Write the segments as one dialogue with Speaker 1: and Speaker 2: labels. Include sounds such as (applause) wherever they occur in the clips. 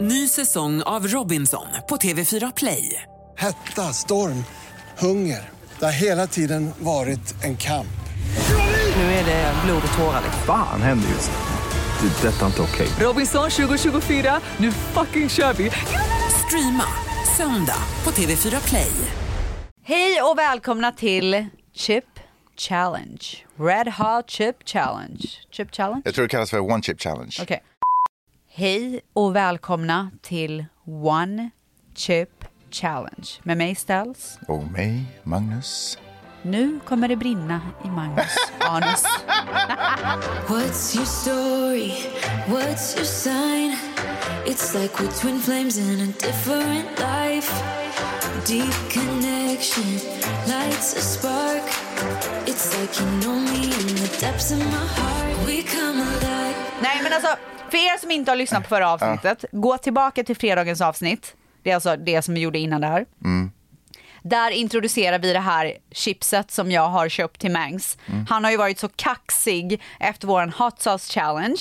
Speaker 1: Ny säsong av Robinson på TV4 Play.
Speaker 2: Hetta, storm, hunger. Det har hela tiden varit en kamp.
Speaker 1: Nu är det blod och tårar. liksom.
Speaker 3: Fan händer just nu. Det. är Detta är inte okej.
Speaker 1: Robinson 2024, nu fucking kör vi! Streama söndag på TV4 Play.
Speaker 4: Hej och välkomna till Chip Challenge. Red Hot Chip Challenge. Chip Challenge?
Speaker 5: Jag tror det kallas för One Chip Challenge.
Speaker 4: Okej. Hej och välkomna till One Chip Challenge med mig Stels.
Speaker 5: Och mig, Magnus.
Speaker 4: Nu kommer det brinna i Magnus anus.
Speaker 6: What's your story? What's your sign? It's like we're twin flames in a different life. Deep connection lights a spark. It's like you know me in the depths of my heart. We come alive.
Speaker 4: Nej men alltså, för er som inte har lyssnat på förra avsnittet, gå tillbaka till fredagens avsnitt. Det är alltså det som vi gjorde innan det här. Där introducerar vi det här chipset som jag har köpt till Mangs. Han har ju varit så kaxig efter våran hot sauce challenge.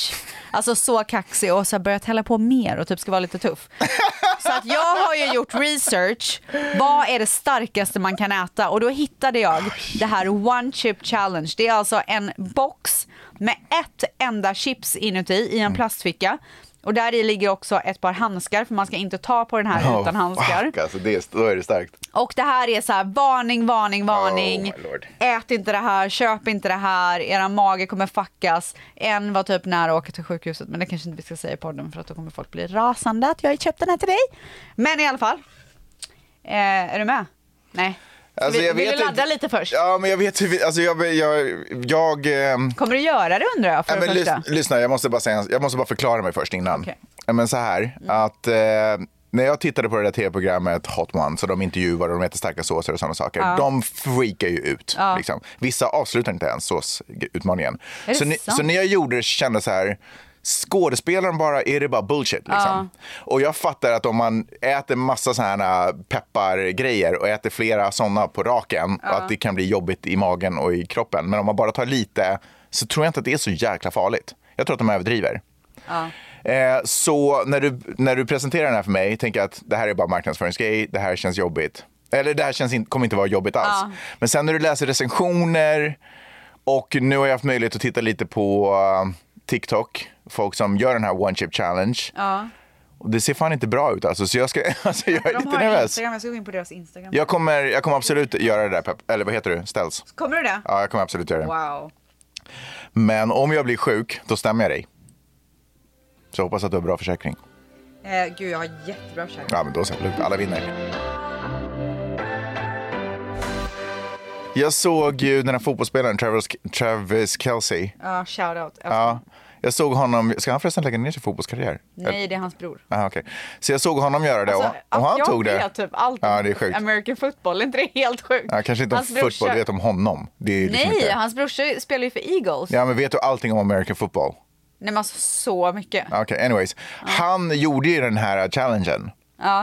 Speaker 4: Alltså så kaxig och så har börjat hälla på mer och typ ska vara lite tuff. Så att jag har ju gjort research. Vad är det starkaste man kan äta? Och då hittade jag det här One Chip Challenge. Det är alltså en box med ett enda chips inuti i en plastficka. Och där i ligger också ett par handskar för man ska inte ta på den här utan handskar.
Speaker 5: Fuck, alltså det, då är det starkt.
Speaker 4: Och det här är så här varning, varning, varning.
Speaker 5: Oh, my lord.
Speaker 4: Ät inte det här, köp inte det här, era mage kommer fuckas. En var typ nära att åka till sjukhuset, men det kanske inte vi ska säga i podden för att då kommer folk bli rasande att jag har köpt den här till dig. Men i alla fall. Eh, är du med? Nej.
Speaker 5: Alltså,
Speaker 4: vill
Speaker 5: jag
Speaker 4: vill
Speaker 5: vet
Speaker 4: du ladda
Speaker 5: inte-
Speaker 4: lite först?
Speaker 5: Ja, men jag vet hur vi, alltså jag, jag, jag ehm,
Speaker 4: Kommer du göra det undrar jag för
Speaker 5: Nej,
Speaker 4: det
Speaker 5: men
Speaker 4: första?
Speaker 5: lys, lyssna, jag måste, bara säga, jag måste bara förklara mig först innan.
Speaker 4: Okej. Mm.
Speaker 5: Nej, Men så här, att eh, när jag tittade på det där tv-programmet Hot Ones, så de intervjuar och de äter starka såser och sådana saker, de freakar ju ut. Liksom. Vissa avslutar inte ens såsutmaningen.
Speaker 4: Är det
Speaker 5: Så, ni,
Speaker 4: sant?
Speaker 5: så när jag gjorde det kände jag så här, skådespelaren bara, är det bara bullshit? Liksom. Och jag fattar att om man äter massa sådana här äh, peppargrejer och äter flera sådana på raken, att det kan bli jobbigt i magen och i kroppen. Men om man bara tar lite så tror jag inte att det är så jäkla farligt. Jag tror att de överdriver. Eh, så när du, när du presenterar den här för mig tänker jag att det här är bara marknadsföringsgrej, det här känns jobbigt. Eller det här känns in, kommer inte vara jobbigt alls. Men sen när du läser recensioner och nu har jag haft möjlighet att titta lite på eh, TikTok, folk som gör den här One Chip Challenge. Och det ser fan inte bra ut alltså, så jag, ska, (laughs) alltså, jag är
Speaker 4: De
Speaker 5: lite
Speaker 4: har
Speaker 5: nervös.
Speaker 4: Instagram, jag ska gå in på deras Instagram.
Speaker 5: Jag kommer, jag kommer absolut göra det där, Pep. eller vad heter du? Ställs?
Speaker 4: Kommer du det?
Speaker 5: Ja, jag kommer absolut göra det.
Speaker 4: Wow.
Speaker 5: Men om jag blir sjuk, då stämmer jag dig. Så jag hoppas att du har bra försäkring.
Speaker 4: Eh, gud, jag har jättebra käk.
Speaker 5: Ja, men då så. absolut. Alla vinner. Jag såg ju den här fotbollsspelaren Travis, Travis Kelce.
Speaker 4: Ja, shoutout.
Speaker 5: Ja, jag såg honom. Ska han förresten lägga ner sin fotbollskarriär?
Speaker 4: Nej, det är hans bror.
Speaker 5: Aha, okej. Så jag såg honom göra det
Speaker 4: Alltså,
Speaker 5: och, och
Speaker 4: att
Speaker 5: han
Speaker 4: jag
Speaker 5: tog det.
Speaker 4: vet typ allt
Speaker 5: Ja,
Speaker 4: om
Speaker 5: det är sjukt.
Speaker 4: American football, är inte det helt sjukt?
Speaker 5: Ja, kanske inte om
Speaker 4: Hans brorsa-
Speaker 5: fotboll, du vet om honom. Det är liksom
Speaker 4: Nej,
Speaker 5: inte...
Speaker 4: hans brorsa spelar ju för Eagles.
Speaker 5: Ja, men vet du allting om American football?
Speaker 4: Nej men alltså så mycket.
Speaker 5: Okej, anyways. Han gjorde ju den här challengen.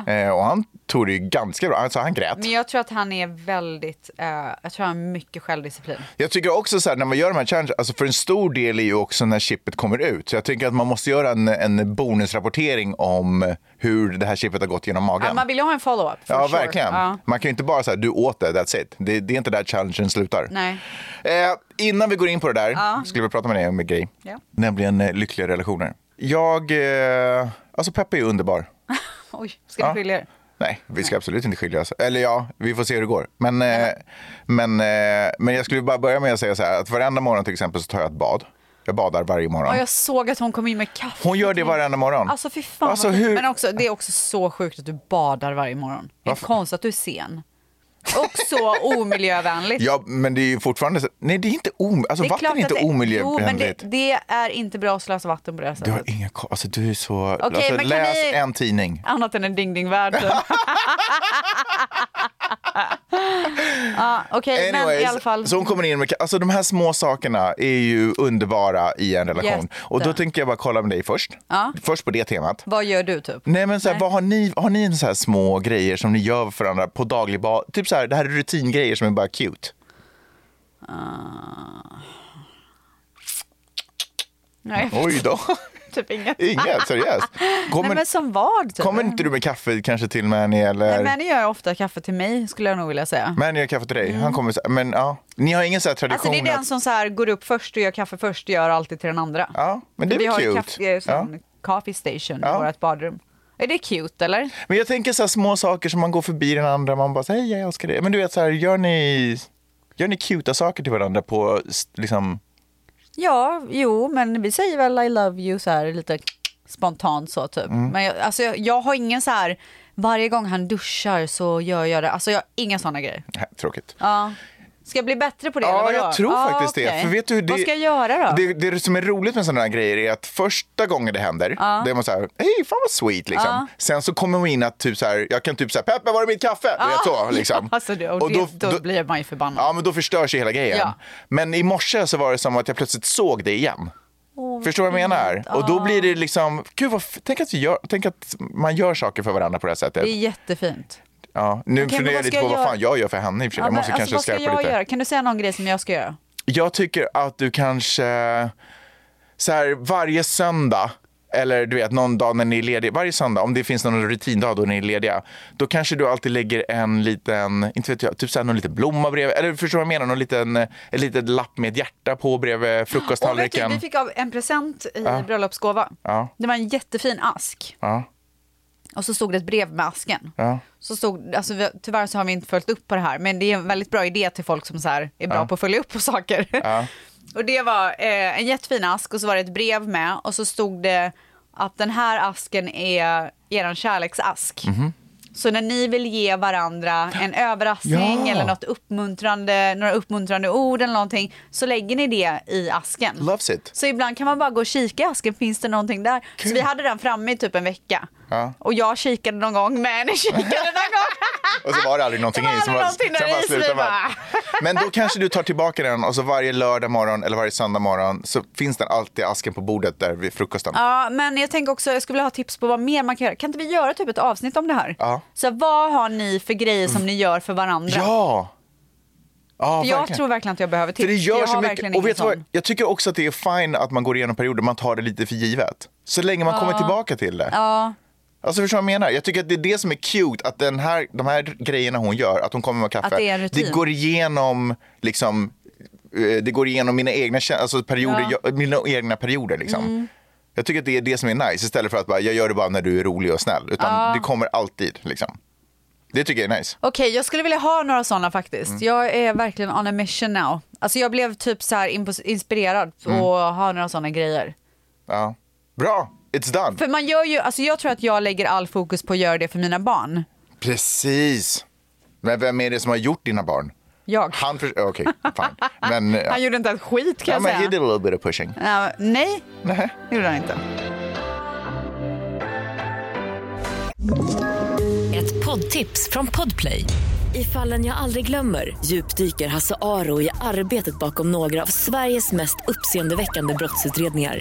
Speaker 5: Eh, och han tog det ju ganska bra. Alltså, han grät.
Speaker 4: Men jag tror att han är väldigt, eh, jag tror han har mycket självdisciplin.
Speaker 5: Jag tycker också så här, när man gör de här challenges, alltså för en stor del är ju också när chippet kommer ut. Så jag tycker att man måste göra en, en bonusrapportering om hur det här chippet har gått genom magen.
Speaker 4: Ja, man vill ju ha en follow-up. for
Speaker 5: Ja,
Speaker 4: sure.
Speaker 5: verkligen.
Speaker 4: Ja.
Speaker 5: Man kan ju inte bara säga du åt det, that's it. Det, det är inte där challengen slutar.
Speaker 4: Nej.
Speaker 5: Eh, innan vi går in på det där, skulle vi prata med dig om en grej.
Speaker 4: Ja.
Speaker 5: Nämligen eh, lyckliga relationer. Jag, eh, alltså Peppe är ju underbar.
Speaker 4: Oj, ska ni skilja er?
Speaker 5: Nej, vi ska absolut inte skilja oss. Eller ja, vi får se hur det går. Men, eh, men, eh, men jag skulle bara börja med att säga så här att varenda morgon till exempel så tar jag ett bad. Jag badar varje morgon.
Speaker 4: Ja, jag såg att hon kom in med kaffe.
Speaker 5: Hon gör det varenda morgon.
Speaker 4: Alltså fy fan
Speaker 5: Alltså,
Speaker 4: vad sjukt.
Speaker 5: hur-
Speaker 4: Men också, det är också så sjukt att du badar varje morgon. Det är
Speaker 5: Varför?
Speaker 4: konstigt att du är sen. Och
Speaker 5: (laughs)
Speaker 4: så omiljövänligt.
Speaker 5: Ja, men det är ju fortfarande så. Nej, det är inte om... Alltså
Speaker 4: Det är
Speaker 5: vatten
Speaker 4: klart
Speaker 5: är inte
Speaker 4: att det- Jo, men det,
Speaker 5: omiljövänligt.
Speaker 4: det är inte bra att slösa vatten på det här
Speaker 5: Du har
Speaker 4: sättet.
Speaker 5: inga ko- Alltså du är så... alltså,
Speaker 4: men kan
Speaker 5: läs
Speaker 4: ni-
Speaker 5: en tidning.
Speaker 4: Annat än en ding-ding-värld.
Speaker 5: (laughs)
Speaker 4: typ. ja, Okej, men i alla fall.
Speaker 5: så hon kommer in med, alltså de här små sakerna är ju underbara i en relation.
Speaker 4: Jätte.
Speaker 5: Och då tänker jag bara kolla med dig först. Först på det temat.
Speaker 4: Vad gör du typ?
Speaker 5: Nej men så här, vad har ni, har ni en så här små grejer som ni gör för varandra på daglig bas? Typ så här, det här är rutingrejer som är bara cute.
Speaker 4: Ah. Nej,
Speaker 5: Oj då.
Speaker 4: (laughs)
Speaker 5: (laughs)
Speaker 4: typ inget.
Speaker 5: Inget, seriöst. Kommer,
Speaker 4: Nej, men som vad? Typ.
Speaker 5: kommer inte du med kaffe kanske till Mani eller?
Speaker 4: Nej, Mani gör ofta kaffe till mig skulle jag nog vilja säga.
Speaker 5: Mani gör kaffe till dig. Han kommer så, men ja. Ni har ingen så här
Speaker 4: Mm. Alltså
Speaker 5: tradition
Speaker 4: det är den
Speaker 5: att-
Speaker 4: som så här går upp först och gör kaffe först och gör alltid till den andra.
Speaker 5: Ja, men det är
Speaker 4: Vi
Speaker 5: väl
Speaker 4: har ju
Speaker 5: cute.
Speaker 4: kaffe, sån coffee station
Speaker 5: Ja.
Speaker 4: i vårt badrum. Är det cute eller?
Speaker 5: Men jag tänker så här små saker som man går förbi den andra man bara säger hej jag älskar dig. Men du vet så här, gör ni, gör ni cuta saker till varandra på s- liksom,
Speaker 4: Ja, jo, men vi säger väl I love you så här lite spontant så typ.
Speaker 5: Mm.
Speaker 4: Men jag, alltså, jag, jag har ingen så här, varje gång han duschar så gör jag det. Alltså jag har inga sådana grejer.
Speaker 5: nej, tråkigt.
Speaker 4: Ja. Ska jag bli bättre på det? eller
Speaker 5: Ja,
Speaker 4: vadå?
Speaker 5: jag tror
Speaker 4: Ja,
Speaker 5: faktiskt det.
Speaker 4: okej.
Speaker 5: För vet du, det,
Speaker 4: Vad ska jag göra då?
Speaker 5: Det, det som är roligt med sådana här grejer är att första gången det händer, då är man så här, hej fan vad sweet liksom. Sen så kommer man in att typ så här, jag kan typ så här, Peppe var är mitt kaffe? Du vet
Speaker 4: (laughs)
Speaker 5: så liksom.
Speaker 4: Alltså, det, och, det, då, blir man ju förbannad.
Speaker 5: Ja, men då förstörs ju hela grejen.
Speaker 4: Ja.
Speaker 5: Men i morse så var det som att jag plötsligt såg det igen. Förstår du vad jag menar? Och
Speaker 4: Ah.
Speaker 5: då blir det liksom, gud vad, f- tänk, att vi gör, tänk att man gör saker för varandra på det här sättet.
Speaker 4: Det är jättefint.
Speaker 5: Ja. Nu
Speaker 4: Okej, men
Speaker 5: funderar
Speaker 4: vad
Speaker 5: jag lite
Speaker 4: ska
Speaker 5: på
Speaker 4: jag
Speaker 5: vad fan
Speaker 4: göra?
Speaker 5: jag gör för henne i och för sig.
Speaker 4: Ja,
Speaker 5: Jag
Speaker 4: men
Speaker 5: måste
Speaker 4: alltså,
Speaker 5: kanske
Speaker 4: vad ska
Speaker 5: skärpa
Speaker 4: jag
Speaker 5: lite.
Speaker 4: göra? Kan du säga någon grej som jag ska göra?
Speaker 5: Jag tycker att du kanske, så här, varje söndag, eller du vet någon dag när ni är lediga, varje söndag, om det finns någon rutindag då ni är lediga, då kanske du alltid lägger en liten, inte vet jag, typ så här, någon liten blomma bredvid, eller förstår du vad jag menar, någon liten, en litet lapp med ett hjärta på bredvid
Speaker 4: Och vet du,
Speaker 5: frukosttallriken.
Speaker 4: vi fick av en present i bröllopsgåva.
Speaker 5: Ja.
Speaker 4: Det var en jättefin ask.
Speaker 5: Ja,
Speaker 4: Och så stod det ett brev med asken.
Speaker 5: ja.
Speaker 4: Så stod, alltså, vi, tyvärr så har vi inte följt upp på det här, men det är en väldigt bra idé till folk som så här är bra på att följa upp på saker. (laughs) och det var eh, en jättefin ask och så var det ett brev med och så stod det att den här asken är er kärleksask. Så när ni vill ge varandra en överraskning
Speaker 5: Mhm. Ja.
Speaker 4: eller något uppmuntrande, några uppmuntrande ord eller någonting så lägger ni det i asken.
Speaker 5: Loves it.
Speaker 4: Så ibland kan man bara gå och kika i asken, finns det någonting där? Så vi hade den framme i typ en vecka.
Speaker 5: Ja.
Speaker 4: Och jag kikade någon gång, men kikade någon gång.
Speaker 5: (laughs) Och så var det aldrig någonting
Speaker 4: Det var
Speaker 5: i. så
Speaker 4: aldrig
Speaker 5: bara-
Speaker 4: någonting där
Speaker 5: sen bara
Speaker 4: i, så
Speaker 5: slutar
Speaker 4: det
Speaker 5: man.
Speaker 4: bara-
Speaker 5: Men då kanske du tar tillbaka den och så varje lördag morgon eller varje söndag morgon så finns den alltid i asken på bordet där vid frukosten.
Speaker 4: Ja, men jag tänker också, jag skulle vilja ha tips på vad mer man kan göra. Kan inte vi göra typ ett avsnitt om det här?
Speaker 5: Ja.
Speaker 4: Så vad har ni för grejer som ni gör för varandra?
Speaker 5: Ja! ja
Speaker 4: för jag
Speaker 5: verkligen.
Speaker 4: tror verkligen att jag behöver tips.
Speaker 5: För det gör
Speaker 4: jag
Speaker 5: så
Speaker 4: har
Speaker 5: mycket.
Speaker 4: verkligen
Speaker 5: Och
Speaker 4: ingen
Speaker 5: vet du vad?
Speaker 4: sån.
Speaker 5: Jag tycker också att det är fine att man går igenom perioder man tar det lite för givet. Så länge man kommer tillbaka till det.
Speaker 4: Ja.
Speaker 5: Alltså förstår du vad jag menar? Jag tycker att det är det som är cute, att den här, de här grejerna hon gör, att hon kommer med kaffe,
Speaker 4: Att det är en rutin.
Speaker 5: går igenom liksom, eh, det går igenom mina egna, kä- alltså perioder, jag, mina egna perioder liksom.
Speaker 4: Mm.
Speaker 5: Jag tycker att det är det som är nice, istället för att bara, jag gör det bara när du är rolig och snäll. Utan det kommer alltid liksom. Det tycker jag är nice.
Speaker 4: Okej, jag skulle vilja ha några sådana faktiskt.
Speaker 5: Mm.
Speaker 4: Jag är verkligen on a mission now. Alltså jag blev typ så här impos- inspirerad
Speaker 5: Mm.
Speaker 4: och har några sådana grejer.
Speaker 5: Ja. Bra, it's done.
Speaker 4: För man gör ju, alltså jag tror att jag lägger all fokus på att göra det för mina barn.
Speaker 5: Precis. Men vem är det som har gjort dina barn?
Speaker 4: Jag.
Speaker 5: Han för...
Speaker 4: (laughs)
Speaker 5: Okej, fine. Men, ja.
Speaker 4: Han gjorde inte ett skit kan
Speaker 5: ja,
Speaker 4: jag
Speaker 5: men he
Speaker 4: säga.
Speaker 5: did a little bit of pushing.
Speaker 4: Ja, nej,
Speaker 5: Nej.
Speaker 4: det gjorde han inte.
Speaker 7: Ett poddtips från Podplay. I fallen jag aldrig glömmer djupdyker Hasse Aro i arbetet bakom några av Sveriges mest uppseendeväckande brottsutredningar.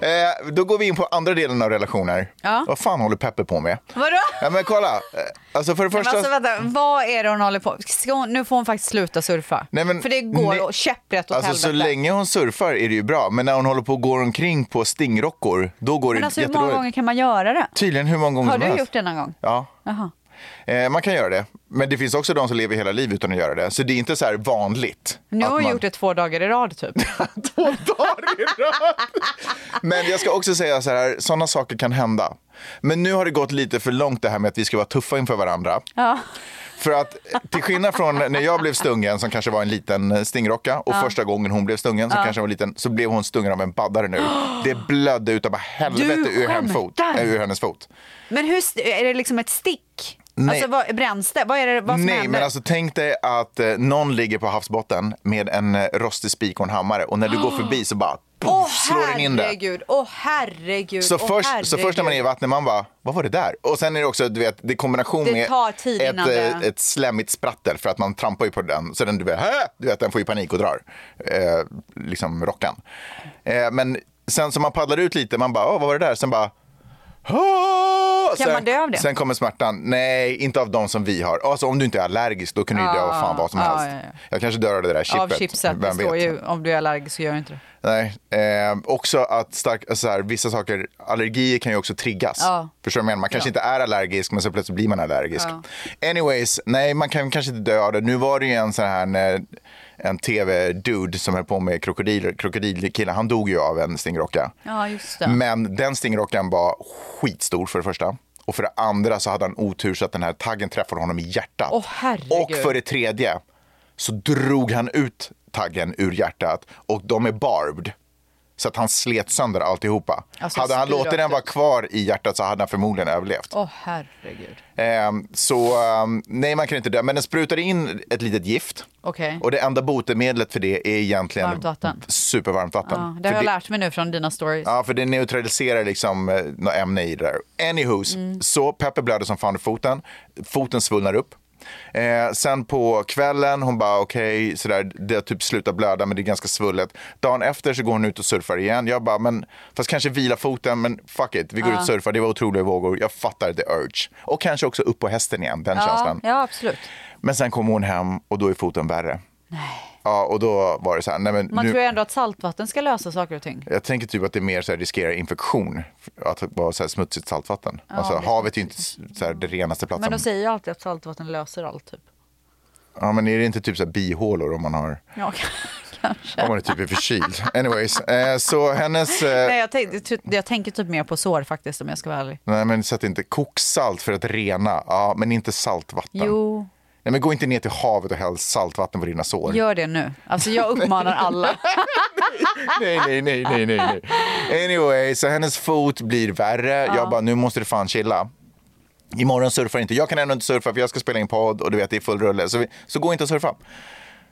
Speaker 5: Eh, då går vi in på andra delen av relationer.
Speaker 4: Ja.
Speaker 5: Vad fan håller Peppe på med?
Speaker 4: Vadå?
Speaker 5: Ja, men kolla. Eh, Alltså för det
Speaker 4: Men
Speaker 5: första...
Speaker 4: alltså vänta, vad är det hon håller på Ska hon, Nu får hon faktiskt sluta surfa.
Speaker 5: Nej, men-
Speaker 4: För det går
Speaker 5: nej.
Speaker 4: och käpprätt åt
Speaker 5: Alltså så
Speaker 4: helvete.
Speaker 5: länge hon surfar är det ju bra, men när hon håller på och går omkring på stingrockor, då
Speaker 4: Men
Speaker 5: går det Typ
Speaker 4: alltså hur många
Speaker 5: jättedåligt.
Speaker 4: gånger kan man göra det?
Speaker 5: Tydligen hur många gånger
Speaker 4: Har
Speaker 5: som
Speaker 4: du
Speaker 5: helst.
Speaker 4: gjort det någon gång?
Speaker 5: Ja.
Speaker 4: Jaha.
Speaker 5: Eh, man kan göra det, men det finns också de som lever hela livet utan att göra det. Så det är inte så här vanligt.
Speaker 4: Nu
Speaker 5: att
Speaker 4: har hon
Speaker 5: man-
Speaker 4: gjort det två dagar i rad
Speaker 5: (laughs)
Speaker 4: typ.
Speaker 5: Men jag ska också säga så här, sådana saker kan hända. Men nu har det gått lite för långt det här med att vi ska vara tuffa inför varandra.
Speaker 4: Ja.
Speaker 5: För att eh, till skillnad från när jag blev stungen som kanske var en liten eh, stingrocka och första gången hon blev stungen som kanske var liten så blev hon stungen av en baddare nu. Det blödde utav bara helvete ur, hennes fot,
Speaker 4: skämtar.
Speaker 5: äh, ur hennes fot.
Speaker 4: Men hur, st- är det liksom ett stick?
Speaker 5: Nej.
Speaker 4: Alltså vad, bränns det? Vad är det vad som
Speaker 5: Nej,
Speaker 4: händer?
Speaker 5: men alltså tänk dig att eh, någon ligger på havsbotten med en eh, rostig spik och en hammare och när du går förbi så bara puff,
Speaker 4: Ah. Åh
Speaker 5: slår den in det.
Speaker 4: herregud, åh herregud,
Speaker 5: Så,
Speaker 4: åh,
Speaker 5: först,
Speaker 4: herregud.
Speaker 5: så först när man är i vattnet, man bara, vad var det där? Och sen är det också, du vet, det är kombination
Speaker 4: Det
Speaker 5: med
Speaker 4: tar tid
Speaker 5: ett,
Speaker 4: innan det-
Speaker 5: eh, ett slemmigt sprattel för att man trampar ju på den. Så den, du vet, "Hä?" du vet, den får ju panik och drar. Eh, liksom rockan. Eh, men sen så man paddlar ut lite, man bara, "Åh, vad var det där? Sen bara, "Åh!"
Speaker 4: Kan
Speaker 5: sen,
Speaker 4: man dö av det?
Speaker 5: Sen kommer smärtan. Nej, inte av de som vi har. Alltså om du inte är allergisk, då kan du ju dö av fan vad som
Speaker 4: Ah,
Speaker 5: helst.
Speaker 4: ja, ja.
Speaker 5: Jag kanske dör av det där chipet.
Speaker 4: Av chipset, det
Speaker 5: Vem
Speaker 4: står
Speaker 5: vet?
Speaker 4: ju om du är allergisk så gör du inte det.
Speaker 5: Nej, eh, också att stark, alltså så här, vissa saker, allergier kan ju också triggas.
Speaker 4: Ja.
Speaker 5: Förstår du vad jag menar? Man kanske inte är allergisk men så plötsligt blir man allergisk. Anyways, nej man kan kanske inte dö av det. Nu var det ju en sån här eh, en tv-dude som höll på med krokodiler, krokodilkillar. Han dog ju av en stingrocka.
Speaker 4: Ja, just det.
Speaker 5: Men den stingrockan var skitstor för det första. Och för det andra så hade han otur så att den här taggen träffade honom i hjärtat.
Speaker 4: Åh, herregud.
Speaker 5: och för det tredje så drog han ut taggen ur hjärtat och de är barbed. Så att han slet sönder alltihopa.
Speaker 4: Alltså,
Speaker 5: hade han
Speaker 4: spyr
Speaker 5: låtit den
Speaker 4: rakt
Speaker 5: vara
Speaker 4: ut.
Speaker 5: kvar i hjärtat så hade han förmodligen överlevt.
Speaker 4: Åh herregud.
Speaker 5: Ehm, så ehm, nej, man kan inte dö. Men den sprutade in ett litet gift.
Speaker 4: Okej.
Speaker 5: Och det enda botemedlet för det är egentligen
Speaker 4: Varmt vatten.
Speaker 5: supervarmt vatten.
Speaker 4: Ja, det har
Speaker 5: För
Speaker 4: jag lärt mig nu från dina stories.
Speaker 5: Ja, för det neutraliserar liksom eh, något ämne i det där. Anywhos,
Speaker 4: Mm.
Speaker 5: så Peppe blöder som fan i foten. Foten svullnar upp. Eh, sen på kvällen, hon bara okej, sådär, det har typ slutat blöda men det är ganska svullet. Dagen efter så går hon ut och surfar igen. Jag bara, men fast kanske vila foten, men fuck it, vi går ut och surfar, det var otroliga vågor, jag fattar the urge. Och kanske också upp på hästen igen, den
Speaker 4: Ja,
Speaker 5: känslan.
Speaker 4: ja, absolut.
Speaker 5: Men sen kommer hon hem och då är foten värre. Ja, och då var det så här, nej men
Speaker 4: Man
Speaker 5: nu...
Speaker 4: tror ju ändå att saltvatten ska lösa saker och ting.
Speaker 5: Jag tänker typ att det är mer så här riskerar infektion, att vara så här smutsigt saltvatten. alltså, havet är ju inte så här det renaste platsen.
Speaker 4: Men de säger ju alltid att saltvatten löser allt typ.
Speaker 5: Ja, men är det inte typ så här bihålor om man, har,
Speaker 4: Ja, kanske.
Speaker 5: om man är typ är förkyld? Anyways, eh, så hennes... Eh,
Speaker 4: (laughs) Nej,
Speaker 5: nej.
Speaker 4: jag, tänkte, jag tror- jag tänker typ mer på sår faktiskt om jag ska vara ärlig.
Speaker 5: men sätt inte koksalt för att rena, ja, men inte saltvatten.
Speaker 4: Jo,
Speaker 5: Nej, men gå inte ner till havet och häll saltvatten på dina sår.
Speaker 4: gör det nu. Alltså jag uppmanar
Speaker 5: (laughs)
Speaker 4: alla.
Speaker 5: nej, nej, nej, nej, nej, nej. Anyway, så hennes fot blir värre. Jag bara, nu måste du fan chilla. Imorgon surfar inte. Jag kan ändå inte surfa för jag ska spela in podd och du vet, det är full rulle. Så, vi, så gå inte och surfa.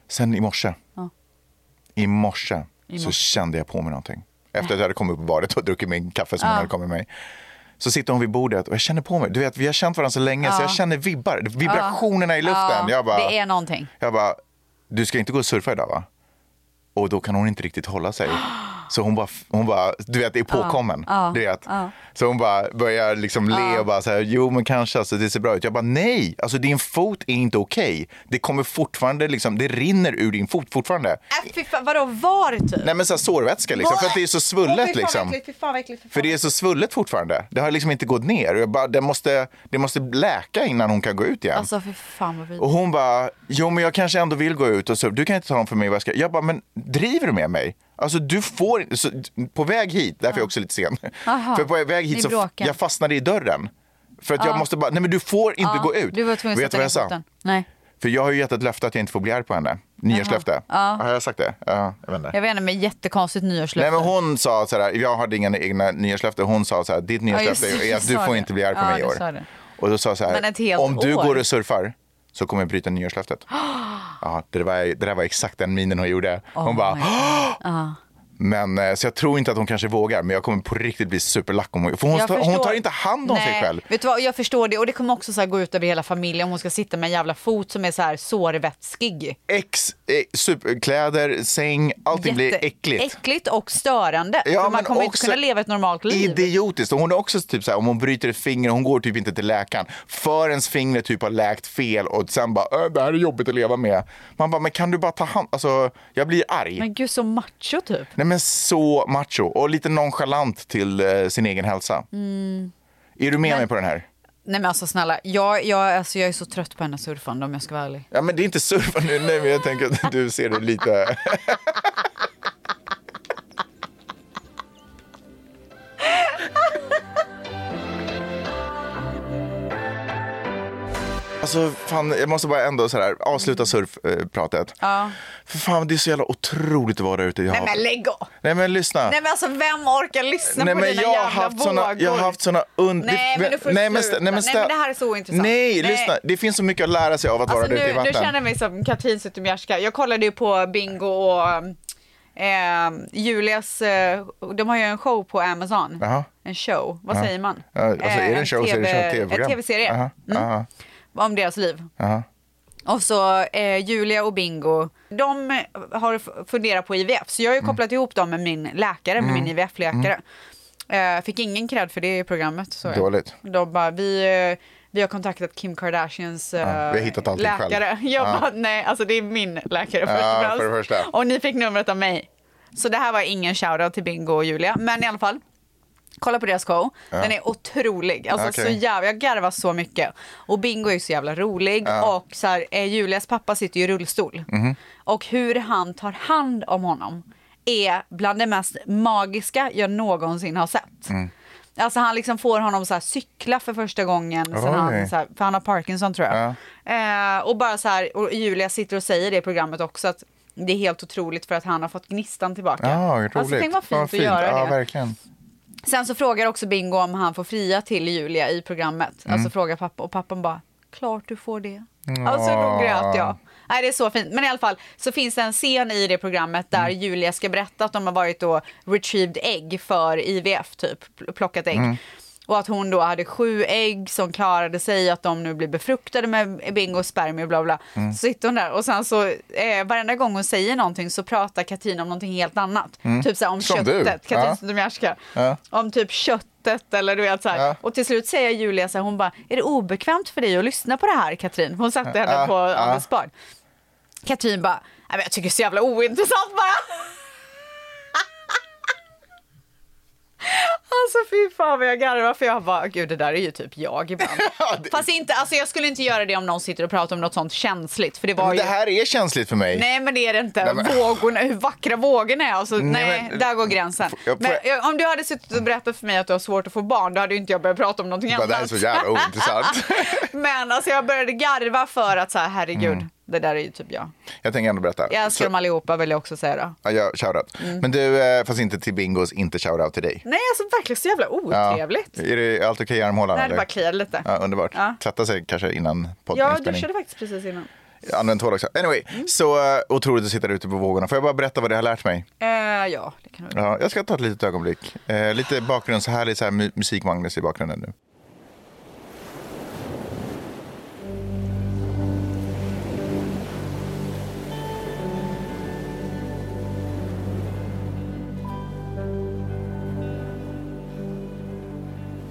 Speaker 5: Sen i morse. I morse så kände jag på mig någonting. Efter att jag hade kommit upp på badet och druckit min kaffe som hon hade kommit med mig. Så sitter hon vid bordet och jag känner på mig. Du vet, vi har känt varandra så länge så jag känner vibbar. Vibrationerna i luften. Jag bara,
Speaker 4: Det är någonting.
Speaker 5: jag bara, du ska inte gå och surfa idag va? Och då kan hon inte riktigt
Speaker 4: (gasps)
Speaker 5: hålla sig. Så hon bara, hon bara du vet, är påkommen. du vet. Så hon bara börjar liksom le och bara så här, jo men kanske, alltså, det ser bra ut. Jag bara, nej, alltså din fot är inte okej. Det kommer fortfarande, liksom, det rinner ur din fot fortfarande.
Speaker 4: Äh, fy fan, vadå var typ?
Speaker 5: Nej men så här sårvätska liksom, för att det är så svullet liksom.
Speaker 4: Fy fan vad äckligt, fy fan
Speaker 5: För det är så svullet fortfarande. Det har liksom inte gått ner. Och Jag bara, det, måste, det måste läka innan hon kan gå ut igen.
Speaker 4: Alltså fy fan vad
Speaker 5: Och
Speaker 4: vidrigt.
Speaker 5: hon bara, jo men jag kanske ändå vill gå ut och så, du kan inte ta dem för mig vad jag ska. Jag bara, men driver du med mig? Alltså du får så, på väg hit, därför är jag också lite sen.
Speaker 4: Aha,
Speaker 5: För på väg
Speaker 4: ni
Speaker 5: hit så
Speaker 4: bråkade.
Speaker 5: jag fastnade i dörren. För att jag måste bara, nej men du får inte
Speaker 4: Ja,
Speaker 5: gå ut.
Speaker 4: Du var tvungen att
Speaker 5: Vet du
Speaker 4: sätta
Speaker 5: vad
Speaker 4: ner foten.
Speaker 5: jag sa?
Speaker 4: Nej,
Speaker 5: För jag har ju gett ett löfte att jag inte får bli arg på henne. Nyårslöfte. Har jag sagt det? Ja, jag vet inte.
Speaker 4: jag vet inte men jättekonstigt nyårslöfte.
Speaker 5: Nej men hon sa sådär, jag hade inga egna nyårslöfte. Hon sa såhär, ditt nyårslöfte
Speaker 4: just det,
Speaker 5: är att
Speaker 4: du
Speaker 5: du
Speaker 4: sa
Speaker 5: får
Speaker 4: det.
Speaker 5: inte bli arg på
Speaker 4: Ja,
Speaker 5: mig i
Speaker 4: du sa
Speaker 5: år.
Speaker 4: det.
Speaker 5: Och då sa jag så
Speaker 4: Men ett
Speaker 5: här,
Speaker 4: helt
Speaker 5: om du
Speaker 4: år."
Speaker 5: går och surfar så kommer jag
Speaker 4: (gasps)
Speaker 5: bryta nyårslöftet. ja, det, var, det där var exakt den minen hon gjorde. Hon
Speaker 4: Oh
Speaker 5: bara,
Speaker 4: my God.
Speaker 5: men eh, så jag tror inte att hon kanske vågar. Men jag kommer på riktigt bli superlack om hon, för hon,
Speaker 4: Jag
Speaker 5: tar- hon
Speaker 4: förstår.
Speaker 5: tar inte hand om sig
Speaker 4: Nej,
Speaker 5: själv.
Speaker 4: Vet du vad, jag förstår det och det kommer också så här gå ut över hela familjen om hon ska sitta med en jävla fot som är så här sårvätskig.
Speaker 5: Ex, eh, super, kläder, säng, allting blir
Speaker 4: Jätte-
Speaker 5: äckligt.
Speaker 4: Äckligt och störande.
Speaker 5: Ja,
Speaker 4: för man
Speaker 5: men
Speaker 4: kommer inte
Speaker 5: också
Speaker 4: kunna leva ett normalt liv.
Speaker 5: Idiotiskt. Och hon är också typ så här, om hon bryter ett finger, hon går typ inte till läkaren. Förrän fingret typ har läkt fel och sen bara, "Äh, det här är jobbigt att leva med. Man bara, men kan du bara ta hand, alltså jag blir arg.
Speaker 4: Men gud så macho typ.
Speaker 5: Nej men så macho och lite nonchalant till eh, sin egen hälsa.
Speaker 4: Mm.
Speaker 5: Är du med mig på den här?
Speaker 4: Nej men alltså snälla, jag, jag, alltså, jag är så trött på hennes surfande om jag ska vara ärlig.
Speaker 5: Ja men det är inte surfa nu, (laughs) nej men jag tänker att du ser det lite. Alltså fan, jag måste bara ändå så här, avsluta surfpratet. Ja. För fan, det är så jävla otroligt otroligt att vara där ute i
Speaker 4: Nej
Speaker 5: havet.
Speaker 4: men lägg av!
Speaker 5: Nej, men lyssna.
Speaker 4: Nej men alltså vem orkar lyssna
Speaker 5: Nej,
Speaker 4: på
Speaker 5: men
Speaker 4: dina
Speaker 5: jag har
Speaker 4: jävla
Speaker 5: haft
Speaker 4: vågor?
Speaker 5: såna, jag har haft såna und...
Speaker 4: Nej, men nu får du
Speaker 5: nej, men,
Speaker 4: sluta.
Speaker 5: stä- nej, men,
Speaker 4: Nej,
Speaker 5: stä-
Speaker 4: men det här är så ointressant.
Speaker 5: Nej,
Speaker 4: Nej.
Speaker 5: lyssna. Det finns så mycket att lära sig av att
Speaker 4: Alltså
Speaker 5: vara ute i
Speaker 4: nu, nu
Speaker 5: vatten.
Speaker 4: känner jag mig som Katrin Zytomierska. Jag kollade ju på Bingo och eh, Julias, eh, de har ju en show på Amazon.
Speaker 5: Jaha.
Speaker 4: En show, vad säger man? Eh,
Speaker 5: Ja, alltså, är det en
Speaker 4: en
Speaker 5: show så är det
Speaker 4: TV
Speaker 5: ett TV-program.
Speaker 4: En tv-serie Mm.
Speaker 5: Aha, aha.
Speaker 4: om deras liv.
Speaker 5: Aha.
Speaker 4: Och så eh, Julia och Bingo, de har f- funderat på IVF. Så jag
Speaker 5: Mm.
Speaker 4: har ju kopplat ihop dem med min läkare, med min IVF-läkare. Eh, fick ingen cred för det i programmet. Så
Speaker 5: Mm. Dåligt.
Speaker 4: De bara, vi, eh, vi har kontaktat Kim Kardashians eh,
Speaker 5: vi har hittat allting
Speaker 4: läkare. (laughs)
Speaker 5: själv.
Speaker 4: Jag
Speaker 5: Ja.
Speaker 4: bara, nej, alltså det är min läkare först
Speaker 5: Ja,
Speaker 4: och främst.
Speaker 5: för det första.
Speaker 4: Och ni fick numret av mig. Så det här var ingen shoutout till Bingo och Julia, men i alla fall. Kolla på deras show. Den är otrolig. Alltså,
Speaker 5: Okej.
Speaker 4: så jävla, jag garvar så mycket. Och Bingo är ju så jävla rolig. Och så här, eh, Julias pappa sitter ju i rullstol.
Speaker 5: Mhm.
Speaker 4: Och hur han tar hand om honom är bland det mest magiska jag någonsin har sett.
Speaker 5: Mm.
Speaker 4: Alltså han liksom får honom så här cykla för första gången sen
Speaker 5: Oj.
Speaker 4: han, så här, för han har Parkinson tror jag. Eh, och bara så här, och Julia sitter och säger det i programmet också att det är helt otroligt för att han har fått gnistan tillbaka.
Speaker 5: Ja, roligt.
Speaker 4: alltså, tänk vad fint att göra
Speaker 5: ja,
Speaker 4: det.
Speaker 5: Verkligen.
Speaker 4: Sen så frågar också Bingo om han får fria till Julia i programmet.
Speaker 5: Mm.
Speaker 4: Alltså frågar pappa och pappan bara, klart du får det. Alltså då grät jag. Nej, det är så fint. Men i alla fall så finns det en scen i det programmet där
Speaker 5: Mm.
Speaker 4: Julia ska berätta att de har varit och retrieved ägg för IVF typ, pl- plockat ägg.
Speaker 5: Mm.
Speaker 4: Och att hon då hade sju ägg som klarade sig, att de nu blir befruktade med bingo och spermier bla bla.
Speaker 5: Mm.
Speaker 4: Så sitter hon där och sen så eh, varenda gång hon säger någonting så pratar Katrin om någonting helt annat. Typ så här om
Speaker 5: Mm. Som du.
Speaker 4: köttet. Katrin
Speaker 5: Ja.
Speaker 4: Zytomierska.
Speaker 5: Ja.
Speaker 4: Om typ köttet eller du vet så här.
Speaker 5: Ja.
Speaker 4: Och till slut säger Julia så här, hon bara, är det obekvämt för dig att lyssna på det här Katrin? Hon satte henne
Speaker 5: Ja.
Speaker 4: på
Speaker 5: Ja.
Speaker 4: Anders Bard. Katrin bara, "Nej, men jag tycker det är så jävla ointressant bara. (laughs) Alltså fy fan vad jag garvar för jag bara, gud det där är ju typ jag
Speaker 5: (laughs)
Speaker 4: ibland. Fast inte, alltså jag skulle inte göra det om någon sitter och pratar om något sånt känsligt för det var
Speaker 5: Men
Speaker 4: ju...
Speaker 5: det här är känsligt för mig.
Speaker 4: Nej men det är det inte.
Speaker 5: Nej, men-
Speaker 4: Vågorna, hur vackra vågorna är. Alltså, nej,
Speaker 5: Nej, men-
Speaker 4: där går gränsen.
Speaker 5: Jag-
Speaker 4: Men, eh, om du hade suttit och berättat för mig att du har svårt att få barn, då hade ju inte jag börjat prata om någonting
Speaker 5: Bara,
Speaker 4: annat.
Speaker 5: det här är så jävla ointressant.
Speaker 4: (laughs) men alltså jag började garva för att så här, herregud, det där är ju typ jag.
Speaker 5: jag tänker ändå berätta.
Speaker 4: Jag älskar
Speaker 5: Mm.
Speaker 4: Mm.
Speaker 5: Så-
Speaker 4: dem allihopa vill jag också säga då.
Speaker 5: Ja, jag shoutout. Men du, eh, fast inte till Bingos, inte shoutout till dig.
Speaker 4: Nej alltså verkligen så jävla otrevligt.
Speaker 5: Är det allt okej i armhålan?
Speaker 4: Det hade
Speaker 5: eller?
Speaker 4: bara kliat lite.
Speaker 5: Ja, underbart.
Speaker 4: Ja.
Speaker 5: Tvätta sig kanske innan
Speaker 4: jag
Speaker 5: poddinspelning.
Speaker 4: duschade faktiskt precis innan.
Speaker 5: Använd tvål också. Anyway,
Speaker 4: Mm.
Speaker 5: så eh, otroligt att sitta där ute på vågorna. Får jag bara berätta vad det har lärt mig?
Speaker 4: Eh, ja, det kan du.
Speaker 5: Ja, jag ska ta ett litet ögonblick. Eh, lite bakgrund, så härlig så här, mu- musik Magnus i bakgrunden nu.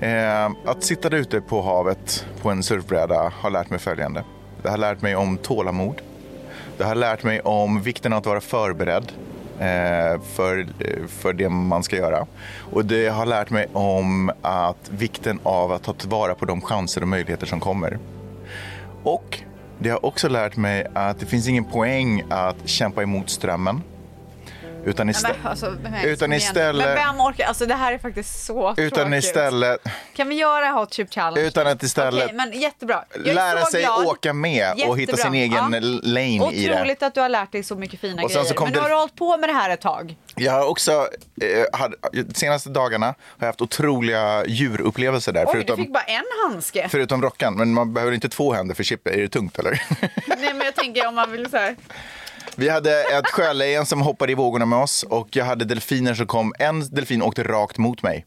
Speaker 5: Eh, att sitta där ute på havet på en surfbräda har lärt mig följande. Det har lärt mig om tålamod. Det har lärt mig om vikten av att vara förberedd eh, för, för det man ska göra. Och det har lärt mig om att vikten av att ta tillvara på de chanser och möjligheter som kommer. Och det har också lärt mig att det finns ingen poäng att kämpa emot strömmen. Utan
Speaker 4: Nej,
Speaker 5: istället...
Speaker 4: men, alltså, nej,
Speaker 5: Utan
Speaker 4: kom igen.
Speaker 5: istället-
Speaker 4: Men vem orkar? Alltså det här är faktiskt så
Speaker 5: Utan
Speaker 4: tråkigt.
Speaker 5: istället...
Speaker 4: Kan vi göra hot chip challenge?
Speaker 5: Utan att istället...
Speaker 4: Okej, men jättebra. Jag är
Speaker 5: lära
Speaker 4: så
Speaker 5: sig
Speaker 4: glad.
Speaker 5: åka med och hitta sin
Speaker 4: Jättebra.
Speaker 5: egen
Speaker 4: Ja.
Speaker 5: lane i det.
Speaker 4: Otroligt att du har lärt dig så mycket fina
Speaker 5: Och sen så
Speaker 4: grejer.
Speaker 5: kom
Speaker 4: Men
Speaker 5: det-
Speaker 4: har du hållit på med det här ett tag?
Speaker 5: Jag har också, eh, hade, de senaste dagarna har jag haft otroliga djurupplevelser där.
Speaker 4: Oj, du
Speaker 5: förutom,
Speaker 4: fick bara en handske.
Speaker 5: förutom rockan, men man behöver inte två händer för chip. Är det tungt eller? (laughs)
Speaker 4: Nej, men jag tänker om man vill så här.
Speaker 5: Vi hade ett sjölejon som hoppade i vågorna med oss och jag hade delfiner som kom. En delfin åkte rakt mot mig.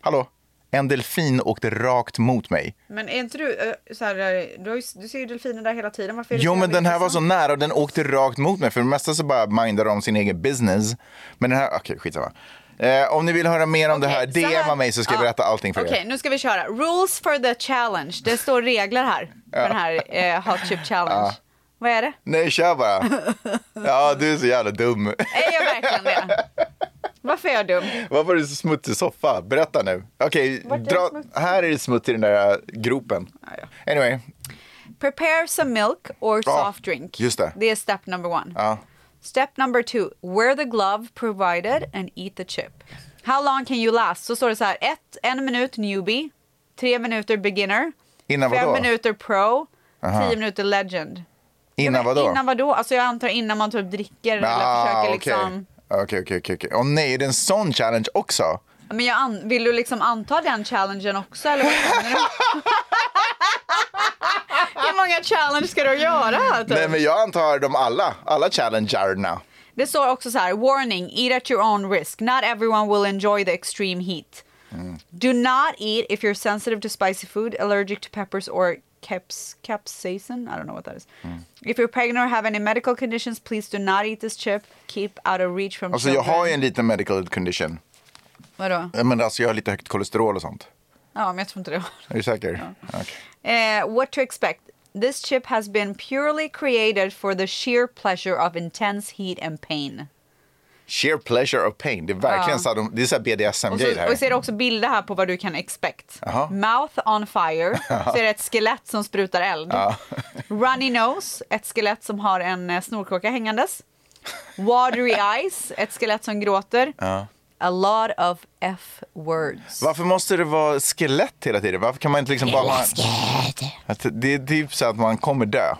Speaker 5: Hallå? En delfin åkte rakt mot mig.
Speaker 4: Men är inte du eh, så här, eh, du, har ju, du ser ju delfiner där hela tiden. Varför är det
Speaker 5: Jo
Speaker 4: så
Speaker 5: men
Speaker 4: jävla
Speaker 5: den här var så
Speaker 4: intressant?
Speaker 5: nära och den åkte rakt mot mig. För det mesta så bara mindar de sin egen business. Men den här, okej skitsamma. Eh, om ni vill höra mer om det här,
Speaker 4: Okej, så
Speaker 5: DMa mig så ska jag
Speaker 4: Ja.
Speaker 5: berätta allting för
Speaker 4: Okej,
Speaker 5: er.
Speaker 4: nu ska vi köra. Rules for the challenge. Det står regler här. För den här eh, hot chip challenge. Vad är det?
Speaker 5: Nej kör bara.
Speaker 4: (laughs)
Speaker 5: Ja du är så jävla dum.
Speaker 4: Är jag verkligen det? Varför är jag dum?
Speaker 5: Varför är du så smutsig soffa? Berätta nu. Okej,
Speaker 4: Vart är
Speaker 5: dra-
Speaker 4: det smutsigt? Ah,
Speaker 5: här är det smutt i den där äh, gropen. Anyway,
Speaker 4: Prepare some milk or
Speaker 5: Ja,
Speaker 4: soft drink.
Speaker 5: just det.
Speaker 4: Det är step number one.
Speaker 5: ja.
Speaker 4: Step number two, wear the glove provided and eat the chip. How long can you last? Så står det så här, ett, en minut newbie, tre minuter beginner,
Speaker 5: Innan
Speaker 4: fem
Speaker 5: vadå?
Speaker 4: minuter pro, tio minuter legend.
Speaker 5: Innan vadå?
Speaker 4: Innan vadå? Alltså jag antar innan man typ dricker eller
Speaker 5: Ah,
Speaker 4: försöker
Speaker 5: okej.
Speaker 4: liksom.
Speaker 5: Okej, okej, okej, okej. Åh nej, är det en sån challenge också?
Speaker 4: Men jag an... vill du liksom anta den challengen också eller vad menar
Speaker 5: (laughs)
Speaker 4: du? Hur många challenge ska du göra? Typ?
Speaker 5: Nej, men jag antar de alla, alla challengerna.
Speaker 4: Det står också så här, warning, eat at your own risk. Not everyone will enjoy the extreme heat. Do not eat if you're sensitive to spicy food, allergic to peppers or caps, capsaicin. I don't know what that is. If you're pregnant or have any medical conditions, please do not eat this chip. Keep out of reach from
Speaker 5: Alltså jag
Speaker 4: children.
Speaker 5: har ju en liten medical condition.
Speaker 4: Vadå?
Speaker 5: Eh, Men alltså jag har lite högt kolesterol och sånt.
Speaker 4: Ja, men jag tror inte det var.
Speaker 5: Är du säker? Okej.
Speaker 4: Eh, what to expect? This chip has been purely created for the sheer pleasure of intense heat and pain.
Speaker 5: Sheer pleasure of pain. Det är
Speaker 4: Ja.
Speaker 5: verkligen så här, de- det är så här
Speaker 4: Och
Speaker 5: BDSM-grej
Speaker 4: så, och så är
Speaker 5: här.
Speaker 4: det också bilder här på vad du kan expect.
Speaker 5: Jaha.
Speaker 4: Mouth on
Speaker 5: (laughs)
Speaker 4: fire, så är det ett skelett som sprutar eld. (laughs) Runny nose, ett skelett som har en eh, snorkråka hängandes.
Speaker 5: (laughs)
Speaker 4: Watery eyes, ett skelett som gråter. A lot of F-words.
Speaker 5: Varför måste det vara skelett hela tiden? Varför kan man inte liksom bara... Man, att det är typ så att man kommer dö.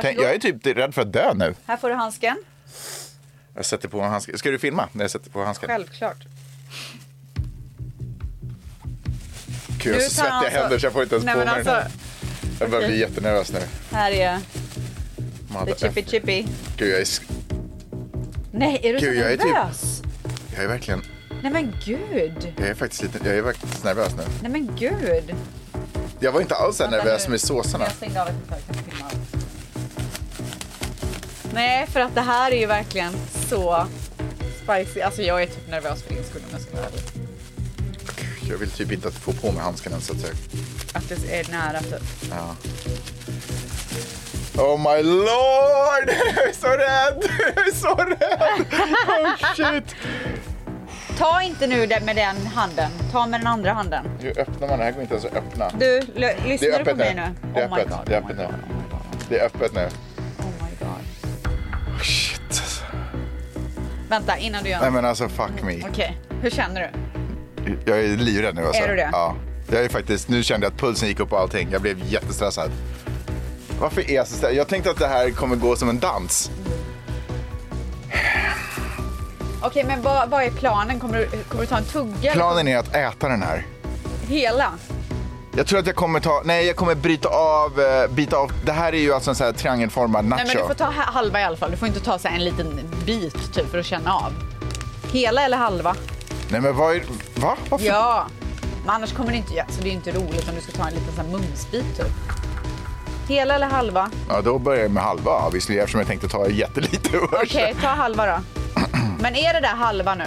Speaker 5: Tänk,
Speaker 4: Varsågod.
Speaker 5: jag är typ rädd för att dö nu.
Speaker 4: Här får du handsken.
Speaker 5: Jag sätter på en handske. Ska du filma när jag sätter på handsken?
Speaker 4: Självklart.
Speaker 5: Gud, jag har
Speaker 4: Nu
Speaker 5: så
Speaker 4: tar
Speaker 5: svettiga
Speaker 4: han alltså-
Speaker 5: händer så jag får inte ens
Speaker 4: Nej,
Speaker 5: på
Speaker 4: men
Speaker 5: mig den här.
Speaker 4: alltså,
Speaker 5: Jag börjar bli jättenervös nu.
Speaker 4: Här är
Speaker 5: Mother
Speaker 4: the chippy
Speaker 5: F.
Speaker 4: chippy.
Speaker 5: Gud, jag är, sk-
Speaker 4: Nej, är du
Speaker 5: Gud,
Speaker 4: så
Speaker 5: jag är typ-
Speaker 4: nervös?
Speaker 5: jag är verkligen...
Speaker 4: Nej men gud.
Speaker 5: Jag är faktiskt lite... Jag är faktiskt nervös nu.
Speaker 4: Nej men gud.
Speaker 5: Jag var inte alls så här
Speaker 4: Vänta
Speaker 5: nervös
Speaker 4: nu.
Speaker 5: med såserna.
Speaker 4: Jag stängde av ett tag, jag kan filma allt. Nej, för att det här är ju verkligen så spicy. Alltså jag är typ nervös för din skull om jag ska vara ärlig.
Speaker 5: Jag vill typ inte att få på mig handsken ens. så att säga.
Speaker 4: Att det är nära typ.
Speaker 5: Oh my lord! (laughs) Jag är så rädd! Jag är så rädd! Oh shit!
Speaker 4: Ta inte nu den med den handen. Ta med den andra handen.
Speaker 5: Hur öppnar man? Det här går inte ens att öppna.
Speaker 4: Du, l-
Speaker 5: Det är
Speaker 4: lyssnar du på
Speaker 5: öppet
Speaker 4: mig
Speaker 5: nu.
Speaker 4: nu?
Speaker 5: Det är
Speaker 4: Oh my
Speaker 5: öppet.
Speaker 4: god,
Speaker 5: Det är
Speaker 4: oh
Speaker 5: öppet
Speaker 4: my god, oh
Speaker 5: nu.
Speaker 4: my god,
Speaker 5: Det är öppet nu.
Speaker 4: Oh my god.
Speaker 5: Oh shit.
Speaker 4: Vänta, innan du gör
Speaker 5: Nej
Speaker 4: något.
Speaker 5: men alltså fuck me.
Speaker 4: Okej, hur känner du?
Speaker 5: Jag är livrädd nu alltså.
Speaker 4: Är du det?
Speaker 5: Ja. Jag är faktiskt, nu kände jag att pulsen gick upp och allting. Jag blev jättestressad. Varför är jag så stressad? Jag tänkte att det här kommer gå som en dans.
Speaker 4: Okej, men vad, vad är planen? Kommer du, kommer du ta en tugga?
Speaker 5: Planen är att äta den här.
Speaker 4: Hela?
Speaker 5: Jag tror att jag kommer ta, nej jag kommer bryta av, eh, bita av. Det här är ju alltså en sån här triangelformad nacho.
Speaker 4: Nej, men du får ta ha- halva i alla fall. Du får inte ta så här en liten bit typ för att känna av. Hela eller halva?
Speaker 5: Nej, men vad är, va? Varför?
Speaker 4: Ja. Men annars kommer det inte... ja, Så det är ju inte roligt om du ska ta en liten så här mumsbit typ. Hela eller halva?
Speaker 5: Ja, då börjar jag med halva visserligen eftersom jag tänkte ta jättelite (laughs)
Speaker 4: Okej, ta halva då. Men är det där halva nu?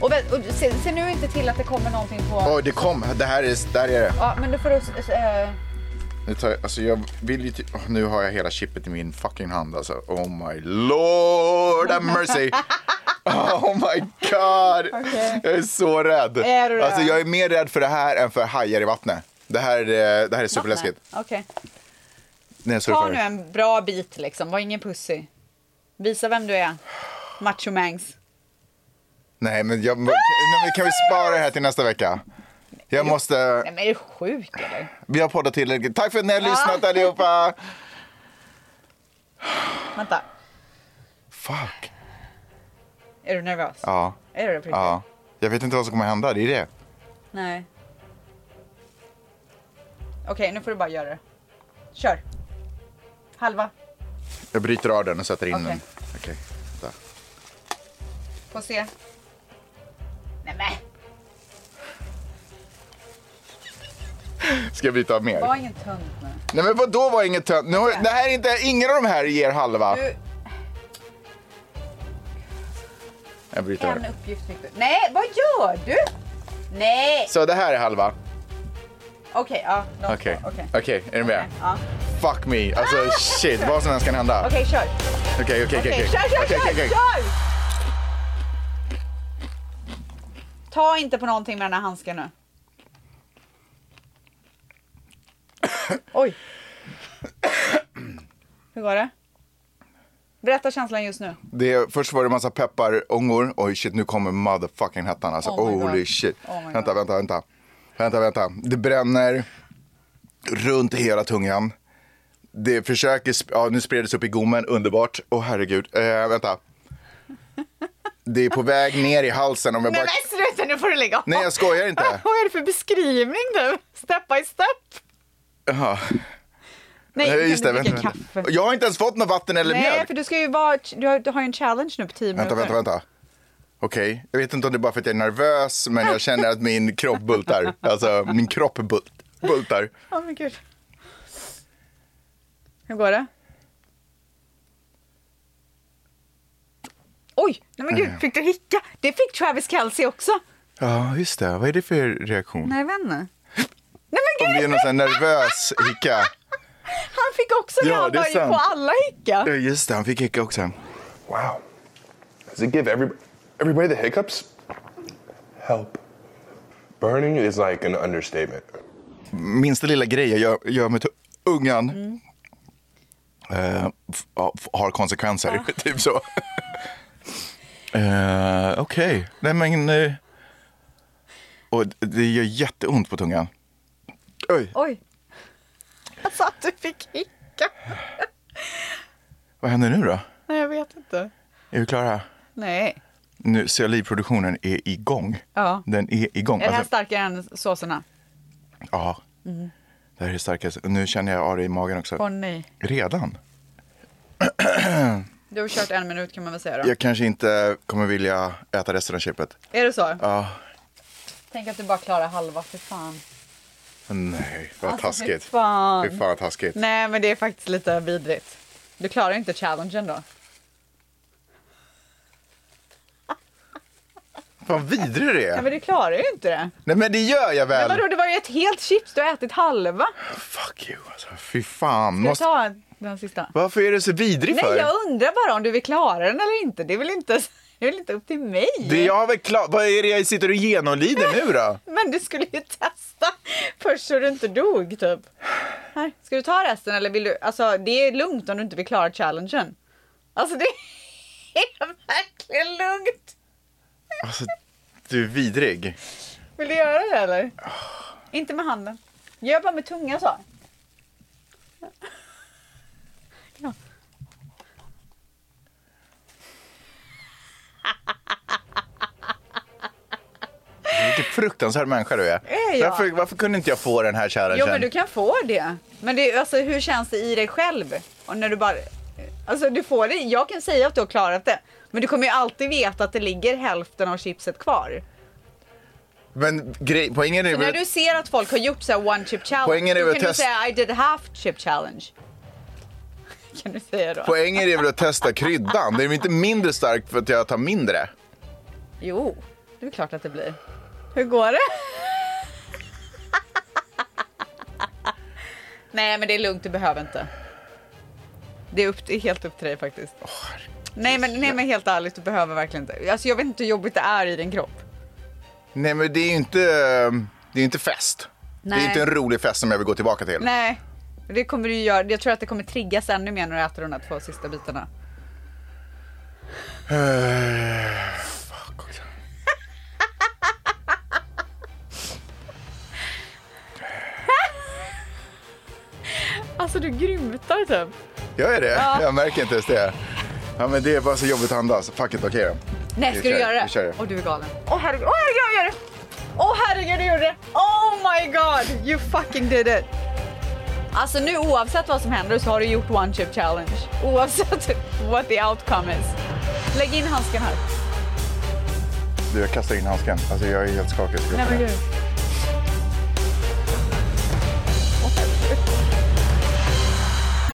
Speaker 4: Och, vä- och se, se nu inte till att det kommer någonting på...
Speaker 5: Oj, det kom. Det här är, där är det.
Speaker 4: Ja, men då får du... s- eh,
Speaker 5: Nu tar jag, alltså jag vill ju typ, åh, nu har jag hela chippet i min fucking hand alltså. Oh my lord have mercy.
Speaker 4: (laughs)
Speaker 5: Oh my god. Jag är så rädd.
Speaker 4: Är du det?
Speaker 5: alltså jag är mer rädd för det här än för hajar i vattnet. Det här, eh, det här är superläskigt.
Speaker 4: nej, Okej.
Speaker 5: Nej, jag
Speaker 4: Ta
Speaker 5: surfar.
Speaker 4: nu en bra bit liksom. Var ingen pussy. Visa vem du är. Macho Mangs.
Speaker 5: Nej, men jag, nej, men kan vi spara det här till nästa vecka? Jag måste,
Speaker 4: Nej, men är du sjuk eller?
Speaker 5: vi har poddat tillräckligt. Tack för att ni har lyssnat allihopa.
Speaker 4: Vänta.
Speaker 5: Fuck.
Speaker 4: Är du nervös?
Speaker 5: Ja,
Speaker 4: Är du det på riktigt?
Speaker 5: ja. Jag vet inte vad som kommer hända, det är det.
Speaker 4: Nej. Okej, nu får du bara göra det. Kör. Halva.
Speaker 5: Jag bryter av den och sätter in
Speaker 4: Okej.
Speaker 5: den. Okej. vänta.
Speaker 4: Få se. Nej men,
Speaker 5: Ska jag bryta av mer?
Speaker 4: var ingen tunt nu.
Speaker 5: Nej men vadå var inget tönt? Nu, har- det här är inte, ingen av de här ger halva.
Speaker 4: Du,
Speaker 5: Jag bryter av
Speaker 4: en
Speaker 5: det.
Speaker 4: uppgift fick du. Nej, vad gör du? Nej!
Speaker 5: Så det här är halva?
Speaker 4: Okej, ja. de
Speaker 5: Okej.
Speaker 4: två, Okej.
Speaker 5: Okej, är du med?
Speaker 4: Ja.
Speaker 5: Fuck me. Alltså shit, vad som helst kan hända.
Speaker 4: Okej, kör.
Speaker 5: Okej, okej, okej.
Speaker 4: Okej,
Speaker 5: okej.
Speaker 4: kör, kör,
Speaker 5: Okej,
Speaker 4: kör,
Speaker 5: okej, okej.
Speaker 4: kör! Ta inte på någonting med den här handsken nu. Oj. Hur går det? Berätta känslan just nu.
Speaker 5: Det, först var det massa pepparångor. Oj shit, nu kommer motherfucking hettan alltså.
Speaker 4: Oh my God.
Speaker 5: Holy shit.
Speaker 4: Oh my God.
Speaker 5: vänta, vänta, vänta. Vänta, vänta. Det bränner runt hela tungan. det försöker, sp- ja, nu spreds upp i gommen, underbart. Åh herregud, eh, vänta. Det är på väg ner i halsen om jag
Speaker 4: Nej
Speaker 5: bara...
Speaker 4: men sluta, nu får du lägga av.
Speaker 5: Nej, jag skojar inte.
Speaker 4: (laughs) Vad är det för beskrivning du? Step by step.
Speaker 5: Jaha.
Speaker 4: Nej,
Speaker 5: Eh,
Speaker 4: kan
Speaker 5: Just det,
Speaker 4: du dricka
Speaker 5: vänta.
Speaker 4: kaffe?
Speaker 5: Jag har inte ens fått något vatten eller
Speaker 4: Nej,
Speaker 5: mjölk.
Speaker 4: för du ska ju vara, du har, du har ju en challenge nu på 10
Speaker 5: Vänta,
Speaker 4: minuter.
Speaker 5: vänta, vänta. Okej, jag vet inte om det är bara för att jag är nervös, men jag känner att min kropp bultar. Alltså, min kropp bult, bultar.
Speaker 4: Åh men gud. Hur går det? Oj, nej men gud, fick du hicka? Det fick Travis Kelce också.
Speaker 5: Ja, just det. Vad är det för reaktion?
Speaker 4: Nej, vän. Nej men
Speaker 5: Om
Speaker 4: gud,
Speaker 5: det är någon sån här nervös hicka.
Speaker 4: han fick också det.
Speaker 5: Ja,
Speaker 4: Han
Speaker 5: det är
Speaker 4: var ju
Speaker 5: sant.
Speaker 4: på alla hicka.
Speaker 5: Ja, Just det, han fick hicka också.
Speaker 8: Wow. Does it give every, everybody the hiccups? Help. Burning is like an understatement.
Speaker 5: Minsta lilla grej jag gör, gör med tu- ungan eh, f- ja, f- har konsekvenser. (laughs) typ så. Eh, Okej. Nej, men... eh, och d- det gör jätteont på tungan. Oj,
Speaker 4: Oj. Jag sa att du fick hicka.
Speaker 5: vad händer nu då?
Speaker 4: Nej, jag vet inte.
Speaker 5: Är vi klara?
Speaker 4: Nej.
Speaker 5: Nu, CLI-produktionen är igång.
Speaker 4: Ja.
Speaker 5: Den är igång.
Speaker 4: Är det här Mm.
Speaker 5: Alltså,
Speaker 4: starkare än såserna?
Speaker 5: ja. Det här är det starkaste. Nu känner jag av det i magen också.
Speaker 4: Åh nej.
Speaker 5: Redan?
Speaker 4: Du har kört en minut kan man väl säga då.
Speaker 5: Jag kanske inte kommer vilja äta resten av chipet.
Speaker 4: Är det så?
Speaker 5: Ja.
Speaker 4: Tänk att du bara klarar halva, för fan.
Speaker 5: Nej, vad
Speaker 4: Alltså, fy
Speaker 5: taskigt.
Speaker 4: fan.
Speaker 5: Fy fan vad taskigt.
Speaker 4: Nej, men det är faktiskt lite vidrigt. Du klarar inte challengen då.
Speaker 5: Fan vidrig det
Speaker 4: Nej,
Speaker 5: är.
Speaker 4: men du klarar ju inte det.
Speaker 5: Nej men det gör jag väl.
Speaker 4: Vadå, det var ju ett helt chips. Du har ätit halva.
Speaker 5: Fuck you alltså. Fy fan.
Speaker 4: Ska jag
Speaker 5: Måste...
Speaker 4: ta den sista?
Speaker 5: Varför är du så vidrig
Speaker 4: Nej,
Speaker 5: för?
Speaker 4: jag undrar bara om du vill klara den eller inte. Det är väl inte, (laughs) det är väl inte upp till mig?
Speaker 5: Det jag har väl klart. Vad är det jag sitter och genomlider nu då?
Speaker 4: Men du skulle ju (laughs) testa först så du inte dog typ. Här, ska du ta resten eller vill du? Alltså det är lugnt om du inte vill klara challengen. Alltså det (laughs) är verkligen lugnt.
Speaker 5: Alltså, du är vidrig.
Speaker 4: Vill du göra det eller?
Speaker 5: Ah.
Speaker 4: Inte med handen. Gör bara med tunga så. Ja.
Speaker 5: Vilken fruktansvärd människa du är.
Speaker 4: Är jag?
Speaker 5: Varför, varför kunde inte jag få den här challengen?
Speaker 4: Jo men du kan få det. Men det, är- alltså, hur känns det i dig själv? Och när du bara, alltså, du får det. Jag kan säga att du har klarat det. Men du kommer ju alltid veta att det ligger hälften av chipset kvar.
Speaker 5: Men grej, poängen är
Speaker 4: Så när
Speaker 5: väl...
Speaker 4: du ser att folk har gjort så här one chip challenge,
Speaker 5: Poängen är
Speaker 4: då
Speaker 5: väl
Speaker 4: kan
Speaker 5: test-
Speaker 4: du säga I did half chip challenge. (laughs) Kan du säga då?
Speaker 5: Poängen är väl att testa kryddan. Det är väl inte mindre starkt för att jag tar mindre?
Speaker 4: Jo, det är klart att det blir. Hur går det? (laughs) Nej, men det är lugnt, du behöver inte. Det är, upp, det är helt upp till dig faktiskt. nej, men, nej, men helt ärligt, du behöver verkligen inte. Alltså, jag vet inte hur jobbigt det är i din kropp.
Speaker 5: Nej men det är ju inte, det är inte fest. Det
Speaker 4: Nej.
Speaker 5: är inte en rolig fest som jag vill gå tillbaka till.
Speaker 4: Nej, det kommer du göra. Jag tror att det kommer triggas ännu mer när du äter de där två sista bitarna. Alltså, du grymtar typ.
Speaker 5: Jag är det. Jag märker inte ens det. Ja, men det är bara så jobbigt att andas. Fuck it, okej då.
Speaker 4: Nej,
Speaker 5: Vi
Speaker 4: ska du
Speaker 5: kör,
Speaker 4: göra det?
Speaker 5: vi kör det.
Speaker 4: Åh, du är galen. Åh herregud, åh herregud, jag gör det! Åh herregud, du gjorde det! Oh my god, you fucking did it! Alltså nu oavsett vad som händer så har du gjort one chip challenge. Oavsett what the outcome is. Lägg in handsken här.
Speaker 5: Du, jag kastar in handsken. Alltså jag är helt skakig. skulle jag
Speaker 4: Nej men
Speaker 5: säga.
Speaker 4: gud.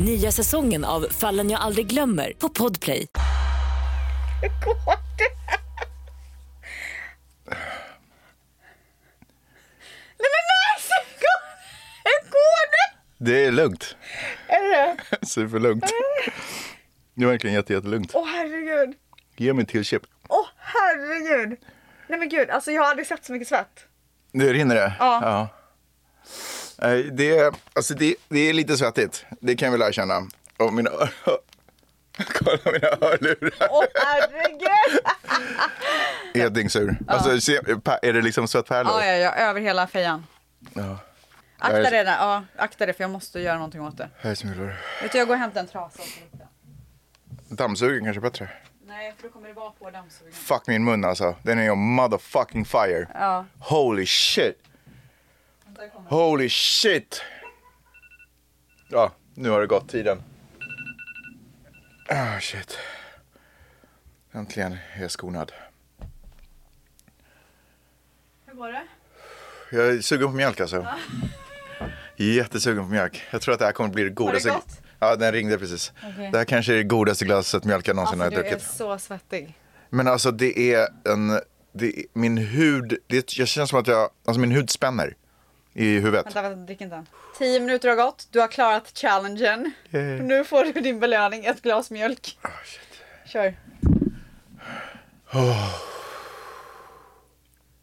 Speaker 7: Nya säsongen av Fallen jag aldrig glömmer på Podplay.
Speaker 4: Nej men nej! så går- Hur går det?
Speaker 5: Det är lugnt. (laughs)
Speaker 4: Är det det? (laughs)
Speaker 5: Superlugnt. Det är verkligen jätte, jättelugnt.
Speaker 9: Åh herregud.
Speaker 5: Ge mig till chip.
Speaker 9: Åh herregud. Nej men gud, alltså jag har aldrig sett så mycket svett.
Speaker 5: Nu rinner det?
Speaker 9: Ja.
Speaker 5: Nej, Det, alltså det, det är lite svettigt. Det kan jag väl erkänna. Och mina ö- Kolla mina hörlurar.
Speaker 9: Åh
Speaker 5: (laughs)
Speaker 9: herregud.
Speaker 5: Helt dyngsur. Alltså, se- pa- är det liksom svettpärlor?
Speaker 4: Ja, ja, ja, över hela fejan.
Speaker 5: Ja. Jag
Speaker 4: Akta
Speaker 5: är-
Speaker 4: det, där. Ja, akta det för jag måste göra någonting åt det.
Speaker 5: Höjdsmulor.
Speaker 4: Vet du, jag går och hämtar en trasa. och så lite.
Speaker 5: Dammsugaren kanske är bättre.
Speaker 4: Nej, för då kommer det vara på dammsugaren.
Speaker 5: Fuck min mun alltså. Den är ju motherfucking fire.
Speaker 4: Ja.
Speaker 5: Holy shit. Holy shit. Ja, nu har det gått tiden. Ah shit. Äntligen är jag skonad.
Speaker 4: Hur går det?
Speaker 5: Jag är sugen på mjölk alltså. Jättesugen på mjölk. Jag tror att det här kommer bli det godaste.
Speaker 4: gått?
Speaker 5: Ja, den ringde precis.
Speaker 4: Okej.
Speaker 5: Det här kanske är det godaste glaset mjölk jag någonsin
Speaker 4: Alltså,
Speaker 5: har
Speaker 4: du är
Speaker 5: druckit.
Speaker 4: så svettig.
Speaker 5: Men alltså det är en, det är, min hud, det, jag känner som att jag, alltså min hud spänner i huvudet.
Speaker 4: Vänta, vänta, drick inte än. Tio minuter har gått, du har klarat challengen. Nu får du din belöning, ett glas mjölk.
Speaker 5: Ah,
Speaker 4: Kör.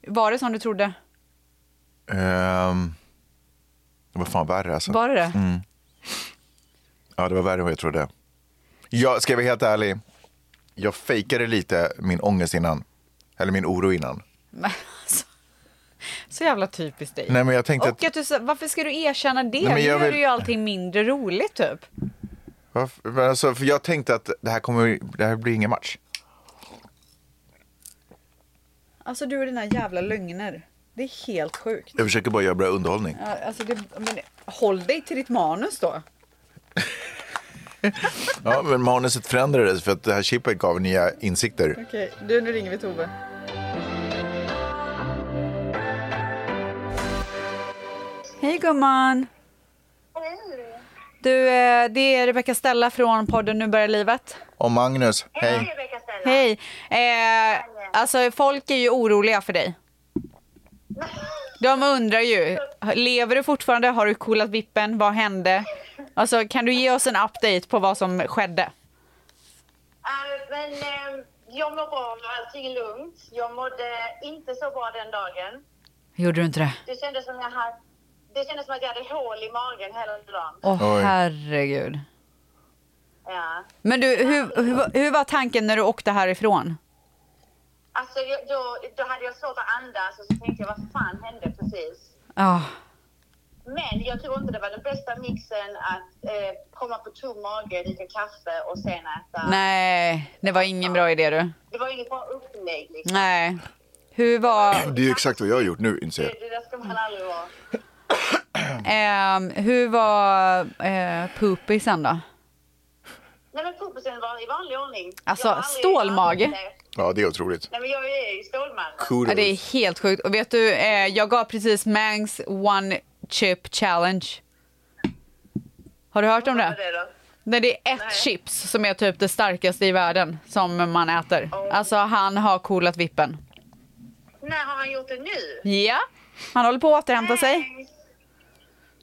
Speaker 4: Var det som du trodde?
Speaker 5: Ehm, det var fan värre alltså.
Speaker 4: Var det det?
Speaker 5: Ja, det var värre än vad jag trodde. Jag, ska jag vara helt ärlig, jag fejkade lite min ångest innan. Eller min oro innan.
Speaker 4: Men alltså, så jävla typiskt dig.
Speaker 5: Nej men jag tänkte
Speaker 4: Och att du, sa- varför ska du erkänna det?
Speaker 5: men
Speaker 4: nu
Speaker 5: jag
Speaker 4: gör
Speaker 5: vill-
Speaker 4: du ju allting mindre roligt typ.
Speaker 5: Varför? Men Alltså, för jag tänkte att det här, kommer, det här blir ingen match.
Speaker 4: Alltså du och dina jävla lögner. Det är helt sjukt.
Speaker 5: Jag försöker bara göra bra underhållning.
Speaker 4: Ja, Alltså, det, men, håll dig till ditt manus då.
Speaker 5: Ja, men manuset förändrades för att det här chippet gav nya insikter.
Speaker 4: Okej, du nu ringer vi Tove. Hej gumman! Du, eh, det är Rebecca Stella från podden Nu börjar livet.
Speaker 5: Och Magnus, hej.
Speaker 9: Rebecka Stella.
Speaker 4: Hej! Eh, alltså folk är ju oroliga för dig. De undrar ju, lever du fortfarande? Har du coolat vippen? Vad hände? Alltså kan du ge oss en update på vad som skedde?
Speaker 9: Eh, men eh, jag mår bra, allting är lugnt. Jag mådde inte så bra den dagen.
Speaker 4: Gjorde du inte det?
Speaker 9: Det kändes som jag hade det kändes som att jag hade hål i magen hela dagen.
Speaker 4: Åh
Speaker 5: Oj.
Speaker 4: herregud.
Speaker 9: Ja.
Speaker 4: Men du, hur, hur, hur var tanken när du åkte härifrån?
Speaker 9: Alltså, jag, då, då hade jag svårt att andas och så tänkte jag vad fan hände precis?
Speaker 4: Ja,
Speaker 9: Men jag tror inte det var den bästa mixen att eh, komma på tom mage, dricka kaffe och sen äta.
Speaker 4: nej, det var ingen bra idé du.
Speaker 9: Det var inget bra upplägg. Liksom.
Speaker 4: Nej. Hur var,
Speaker 5: Det är ju exakt vad jag har gjort nu, inser jag.
Speaker 9: Det, det där ska man aldrig vara.
Speaker 4: ehm, hur var eh, poopisen då?
Speaker 9: Nej men kompisen var i vanlig ordning.
Speaker 4: Alltså,
Speaker 9: Jag har aldrig-
Speaker 4: stålmage.
Speaker 5: Ja, det är otroligt.
Speaker 9: Nej men jag är ju stålman.
Speaker 4: Ja, det är helt sjukt. Och vet du, eh, jag gav precis Mangs One Chip Challenge. Har du hört om
Speaker 9: Vad var
Speaker 4: det?
Speaker 9: det då?
Speaker 4: Nej, det är ett
Speaker 9: Nej.
Speaker 4: chips som är typ det starkaste i världen som man äter.
Speaker 9: Oh.
Speaker 4: Alltså han har coolat vippen.
Speaker 9: När har han gjort det nu?
Speaker 4: Ja, han håller på att återhämta sig.
Speaker 9: Nej.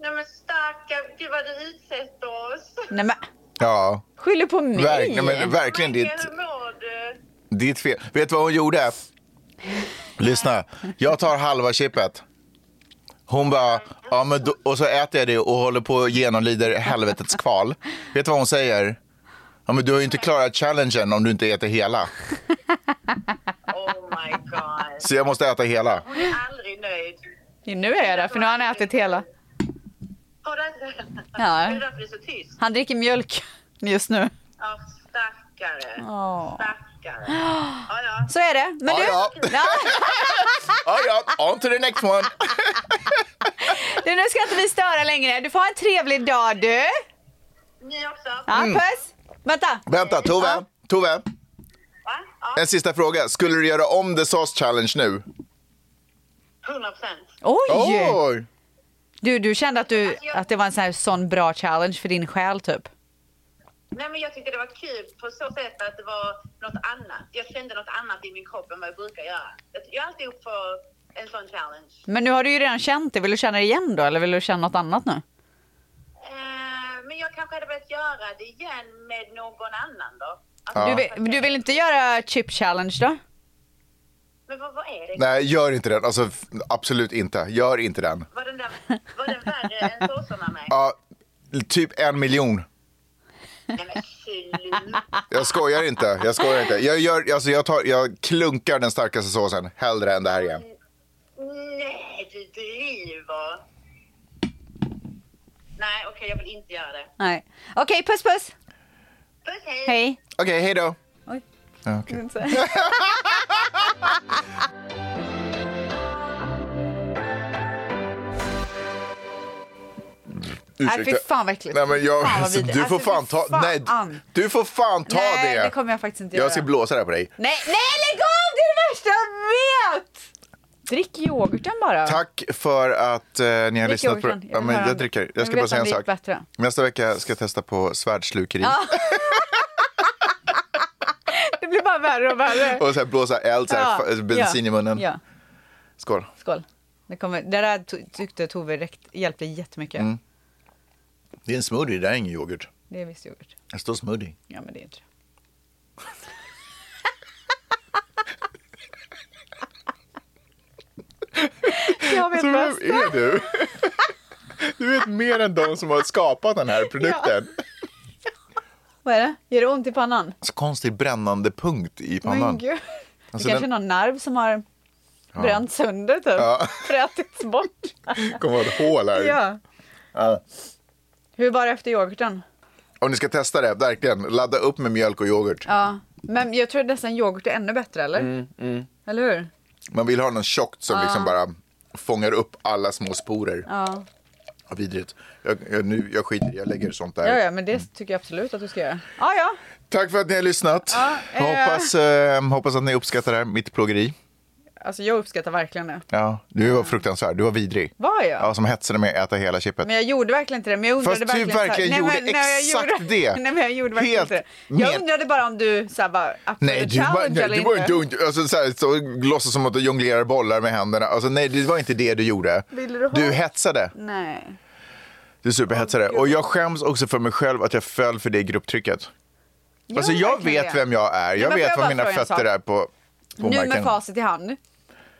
Speaker 9: Nej men stackarn, gud vad du utsätter oss.
Speaker 4: Nej men,
Speaker 5: Ja,
Speaker 4: skyller på mig.
Speaker 5: verkligen, men, verkligen det, är
Speaker 9: Michael,
Speaker 5: ett-
Speaker 9: hur mår du?
Speaker 5: det är ett fel. Vet du vad hon gjorde? Lyssna, jag tar halva chippet. Hon bara, ja, men då, och så äter jag det och håller på och genomlider helvetets kval. Vet du vad hon säger? Ja, men du har ju inte klarat challengen om du inte äter hela.
Speaker 9: Oh my god.
Speaker 5: Så jag måste äta hela.
Speaker 9: Hon är aldrig nöjd.
Speaker 4: Nu är jag där, för nu har han ätit hela.
Speaker 9: Har du inte?
Speaker 4: Ja.
Speaker 9: Det är därför det är så tyst.
Speaker 4: Han dricker mjölk (laughs) just nu.
Speaker 9: Ja, stackare.
Speaker 4: Ja.
Speaker 9: Stackare. Ja, ja.
Speaker 4: Så är det. Men
Speaker 5: Ja,
Speaker 4: du, (laughs)
Speaker 5: ja. Ja, ja, on to the next one.
Speaker 4: du, nu ska inte vi störa längre. Du får ha en trevlig dag du.
Speaker 9: Ni också?
Speaker 4: Ja,
Speaker 5: Mm.
Speaker 4: Puss. Vänta.
Speaker 5: Vänta, Tove. Tove,
Speaker 9: Va?
Speaker 5: en sista fråga. Skulle du göra om The Sauce Challenge nu?
Speaker 9: Ja, 100 procent.
Speaker 4: Oj!
Speaker 5: Oj!
Speaker 4: Du, du kände att, du, att det var en sån, här, sån bra challenge för din själ typ?
Speaker 9: Nej, men jag tyckte det var kul på så sätt att det var något annat. Jag kände något annat i min kropp än vad jag brukar göra. Jag- Jag är alltid upp för en sån challenge.
Speaker 4: Men nu har du ju redan känt det. Vill du känna det igen då? Eller vill du känna något annat nu?
Speaker 9: Eh, men jag kan kanske hade velat göra det igen med någon annan då. Alltså,
Speaker 5: Ja.
Speaker 4: Du, vill, du vill inte göra chip challenge då?
Speaker 9: Men vad, vad är det?
Speaker 5: Nej, gör inte den. Alltså, f- absolut inte. Gör inte den.
Speaker 9: Var den, där, var den värre än såsarna med?
Speaker 5: Ja, typ en miljon.
Speaker 9: Nej men sluta.
Speaker 5: Jag skojar inte. Jag skojar inte. Jag, gör, alltså, jag, tar, jag klunkar den starkaste såsen hellre än det här igen.
Speaker 9: Nej, du driver. Nej, okej, jag vill inte göra det.
Speaker 4: Nej. Okej, puss puss.
Speaker 9: Puss, hej.
Speaker 4: Hej.
Speaker 5: Okej, hej då.
Speaker 4: Oj.
Speaker 5: Ja, okej.
Speaker 4: Nej, fy fan vad äckligt.
Speaker 5: Nej, men jag,
Speaker 4: Fan, vad vidrigt.
Speaker 5: du får
Speaker 4: Alltså,
Speaker 5: fan
Speaker 4: fy
Speaker 5: ta, nej,
Speaker 4: fan.
Speaker 5: du får fan ta
Speaker 4: Nej,
Speaker 5: det.
Speaker 4: det kommer jag faktiskt inte
Speaker 5: jag
Speaker 4: göra.
Speaker 5: ska blåsa det här på dig.
Speaker 4: Nej, nej lägg av! Det är det värsta jag vet! Drick yoghurten bara.
Speaker 5: Tack för att eh, ni har
Speaker 4: Drick
Speaker 5: lyssnat på
Speaker 4: yoghurten. Jag
Speaker 5: ja,
Speaker 4: vill
Speaker 5: men
Speaker 4: höra
Speaker 5: Jag
Speaker 4: om-
Speaker 5: dricker.
Speaker 4: jag
Speaker 5: Jag ska
Speaker 4: vill
Speaker 5: bara
Speaker 4: veta
Speaker 5: säga
Speaker 4: om det
Speaker 5: en sak.
Speaker 4: gick bättre.
Speaker 5: Nästa vecka ska jag testa på svärdslukeri
Speaker 4: Det blir bara värre och värre.
Speaker 5: (laughs) och så här blåsa eld, så här, fa- eh, bensin
Speaker 4: ja,
Speaker 5: i munnen.
Speaker 4: Ja,
Speaker 5: Skål.
Speaker 4: skål. Det, kommer, det där to- tyckte Tove räckt, hjälpte jättemycket.
Speaker 5: Mm. Det är en smoothie, det där är ingen yoghurt.
Speaker 4: Det är visst yoghurt.
Speaker 5: Det står smoothie.
Speaker 4: Ja, men det är inte det. (laughs) Jag vet
Speaker 5: Så vem
Speaker 4: bäst.
Speaker 5: är du? (laughs) Du vet mer än de som har skapat den här produkten.
Speaker 4: Vad är det? Gör det ont i pannan?
Speaker 5: Så konstig brännande punkt i
Speaker 4: Men
Speaker 5: pannan.
Speaker 4: gud.
Speaker 5: Alltså,
Speaker 4: det kanske är någon nerv som har bränt sönder typ.
Speaker 5: Ja.
Speaker 4: Frätits
Speaker 5: (laughs)
Speaker 4: bort.
Speaker 5: kommer att vara ett hål här.
Speaker 4: ja.
Speaker 5: Ja.
Speaker 4: Hur var det efter yoghurten?
Speaker 5: Om ni ska testa det, verkligen. Ladda upp med mjölk och yoghurt.
Speaker 4: Ja. Mm, Men jag tror nästan yoghurt är ännu bättre eller? Eller hur?
Speaker 5: Man vill ha någon tjockt som liksom bara fångar upp alla små sporer.
Speaker 4: Ja.
Speaker 5: Vad Vidrigt. Jag, jag, nu, jag skiter i, jag lägger sånt där.
Speaker 4: ja, ja, men det tycker jag absolut att du ska göra. Ja, ja.
Speaker 5: Tack för att ni har lyssnat.
Speaker 4: Ja, eh.
Speaker 5: hoppas, eh, hoppas att ni uppskattar det här, mitt plågeri.
Speaker 4: Alltså jag uppskattar verkligen det.
Speaker 5: Ja, du var fruktansvärd, du var vidrig.
Speaker 4: Var jag?
Speaker 5: Ja, som hetsade mig att äta hela chippet.
Speaker 4: Men jag gjorde verkligen inte det. Men jag undrade
Speaker 5: Fast du
Speaker 4: verkligen, så här-
Speaker 5: verkligen
Speaker 4: Nej, men-
Speaker 5: gjorde
Speaker 4: nej, jag
Speaker 5: exakt
Speaker 4: gjorde, (laughs)
Speaker 5: det.
Speaker 4: Nej, men jag gjorde verkligen
Speaker 5: Helt
Speaker 4: inte det. Jag
Speaker 5: med-
Speaker 4: undrade bara om du så här, var up for
Speaker 5: Nej,
Speaker 4: the
Speaker 5: du var,
Speaker 4: challenge
Speaker 5: nej,
Speaker 4: eller
Speaker 5: du var inte ung. Alltså, så här, så, låtsas som att du jonglerar bollar med händerna. Alltså, nej, det var inte det du gjorde.
Speaker 4: Ville du ha-
Speaker 5: du hetsade.
Speaker 4: Nej.
Speaker 5: Du superhetsade. och jag skäms också för mig själv att jag föll för det grupptrycket.
Speaker 4: Gör
Speaker 5: Alltså,
Speaker 4: du
Speaker 5: jag
Speaker 4: verkligen
Speaker 5: vet
Speaker 4: det?
Speaker 5: vem jag oh är.
Speaker 4: men
Speaker 5: Jag
Speaker 4: får
Speaker 5: vet
Speaker 4: jag
Speaker 5: var
Speaker 4: bara
Speaker 5: mina
Speaker 4: fråga en
Speaker 5: fötter
Speaker 4: sak?
Speaker 5: är på, på
Speaker 4: Nu med
Speaker 5: marken.
Speaker 4: facit i hand.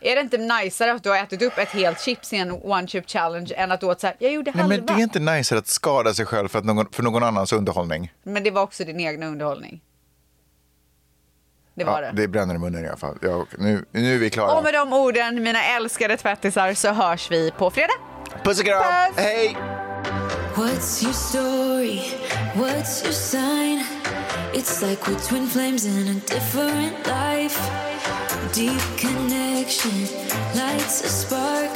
Speaker 4: Är det inte najsare att du har ätit upp ett helt chips i en one chip challenge än att du åt så här, jag gjorde
Speaker 5: Nej,
Speaker 4: halva.
Speaker 5: men det är inte nice att skada sig själv för, att någon, för någon annans underhållning.
Speaker 4: Men det var också din egna underhållning. Det var
Speaker 5: Ja,
Speaker 4: det.
Speaker 5: det bränner i munnen i alla fall. Jag, nu, nu är vi klara.
Speaker 4: Och med de orden, mina älskade tvättisar, så hörs vi på fredag.
Speaker 5: Puss och kram!
Speaker 4: Puss!
Speaker 5: Hej!
Speaker 6: What's your story? What's your sign? It's like we're twin flames in a different life. Deep connection lights a spark.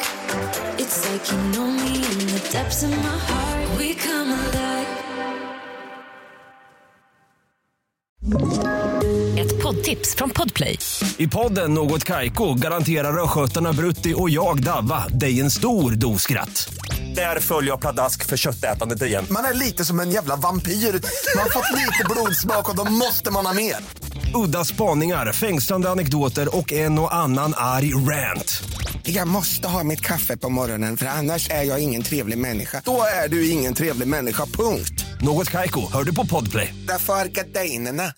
Speaker 6: It's like you know me in the depths of my heart. We come alive.
Speaker 7: Ett poddtips från Podplay.
Speaker 10: I podden Något Kaiko garanterar östgötarna Brutti och jag, Davva, dig en stor dos skratt. Där följer jag pladask för köttätandet igen.
Speaker 11: Man är lite som en jävla vampyr. Man har fått lite blodsmak och då måste man ha mer.
Speaker 10: Udda spaningar, fängslande anekdoter och en och annan arg rant.
Speaker 11: Jag måste ha mitt kaffe på morgonen för annars är jag ingen trevlig människa. Då är du ingen trevlig människa, punkt.
Speaker 10: Något Kaiko, hör du på Podplay.
Speaker 11: Därför arkadeinerna.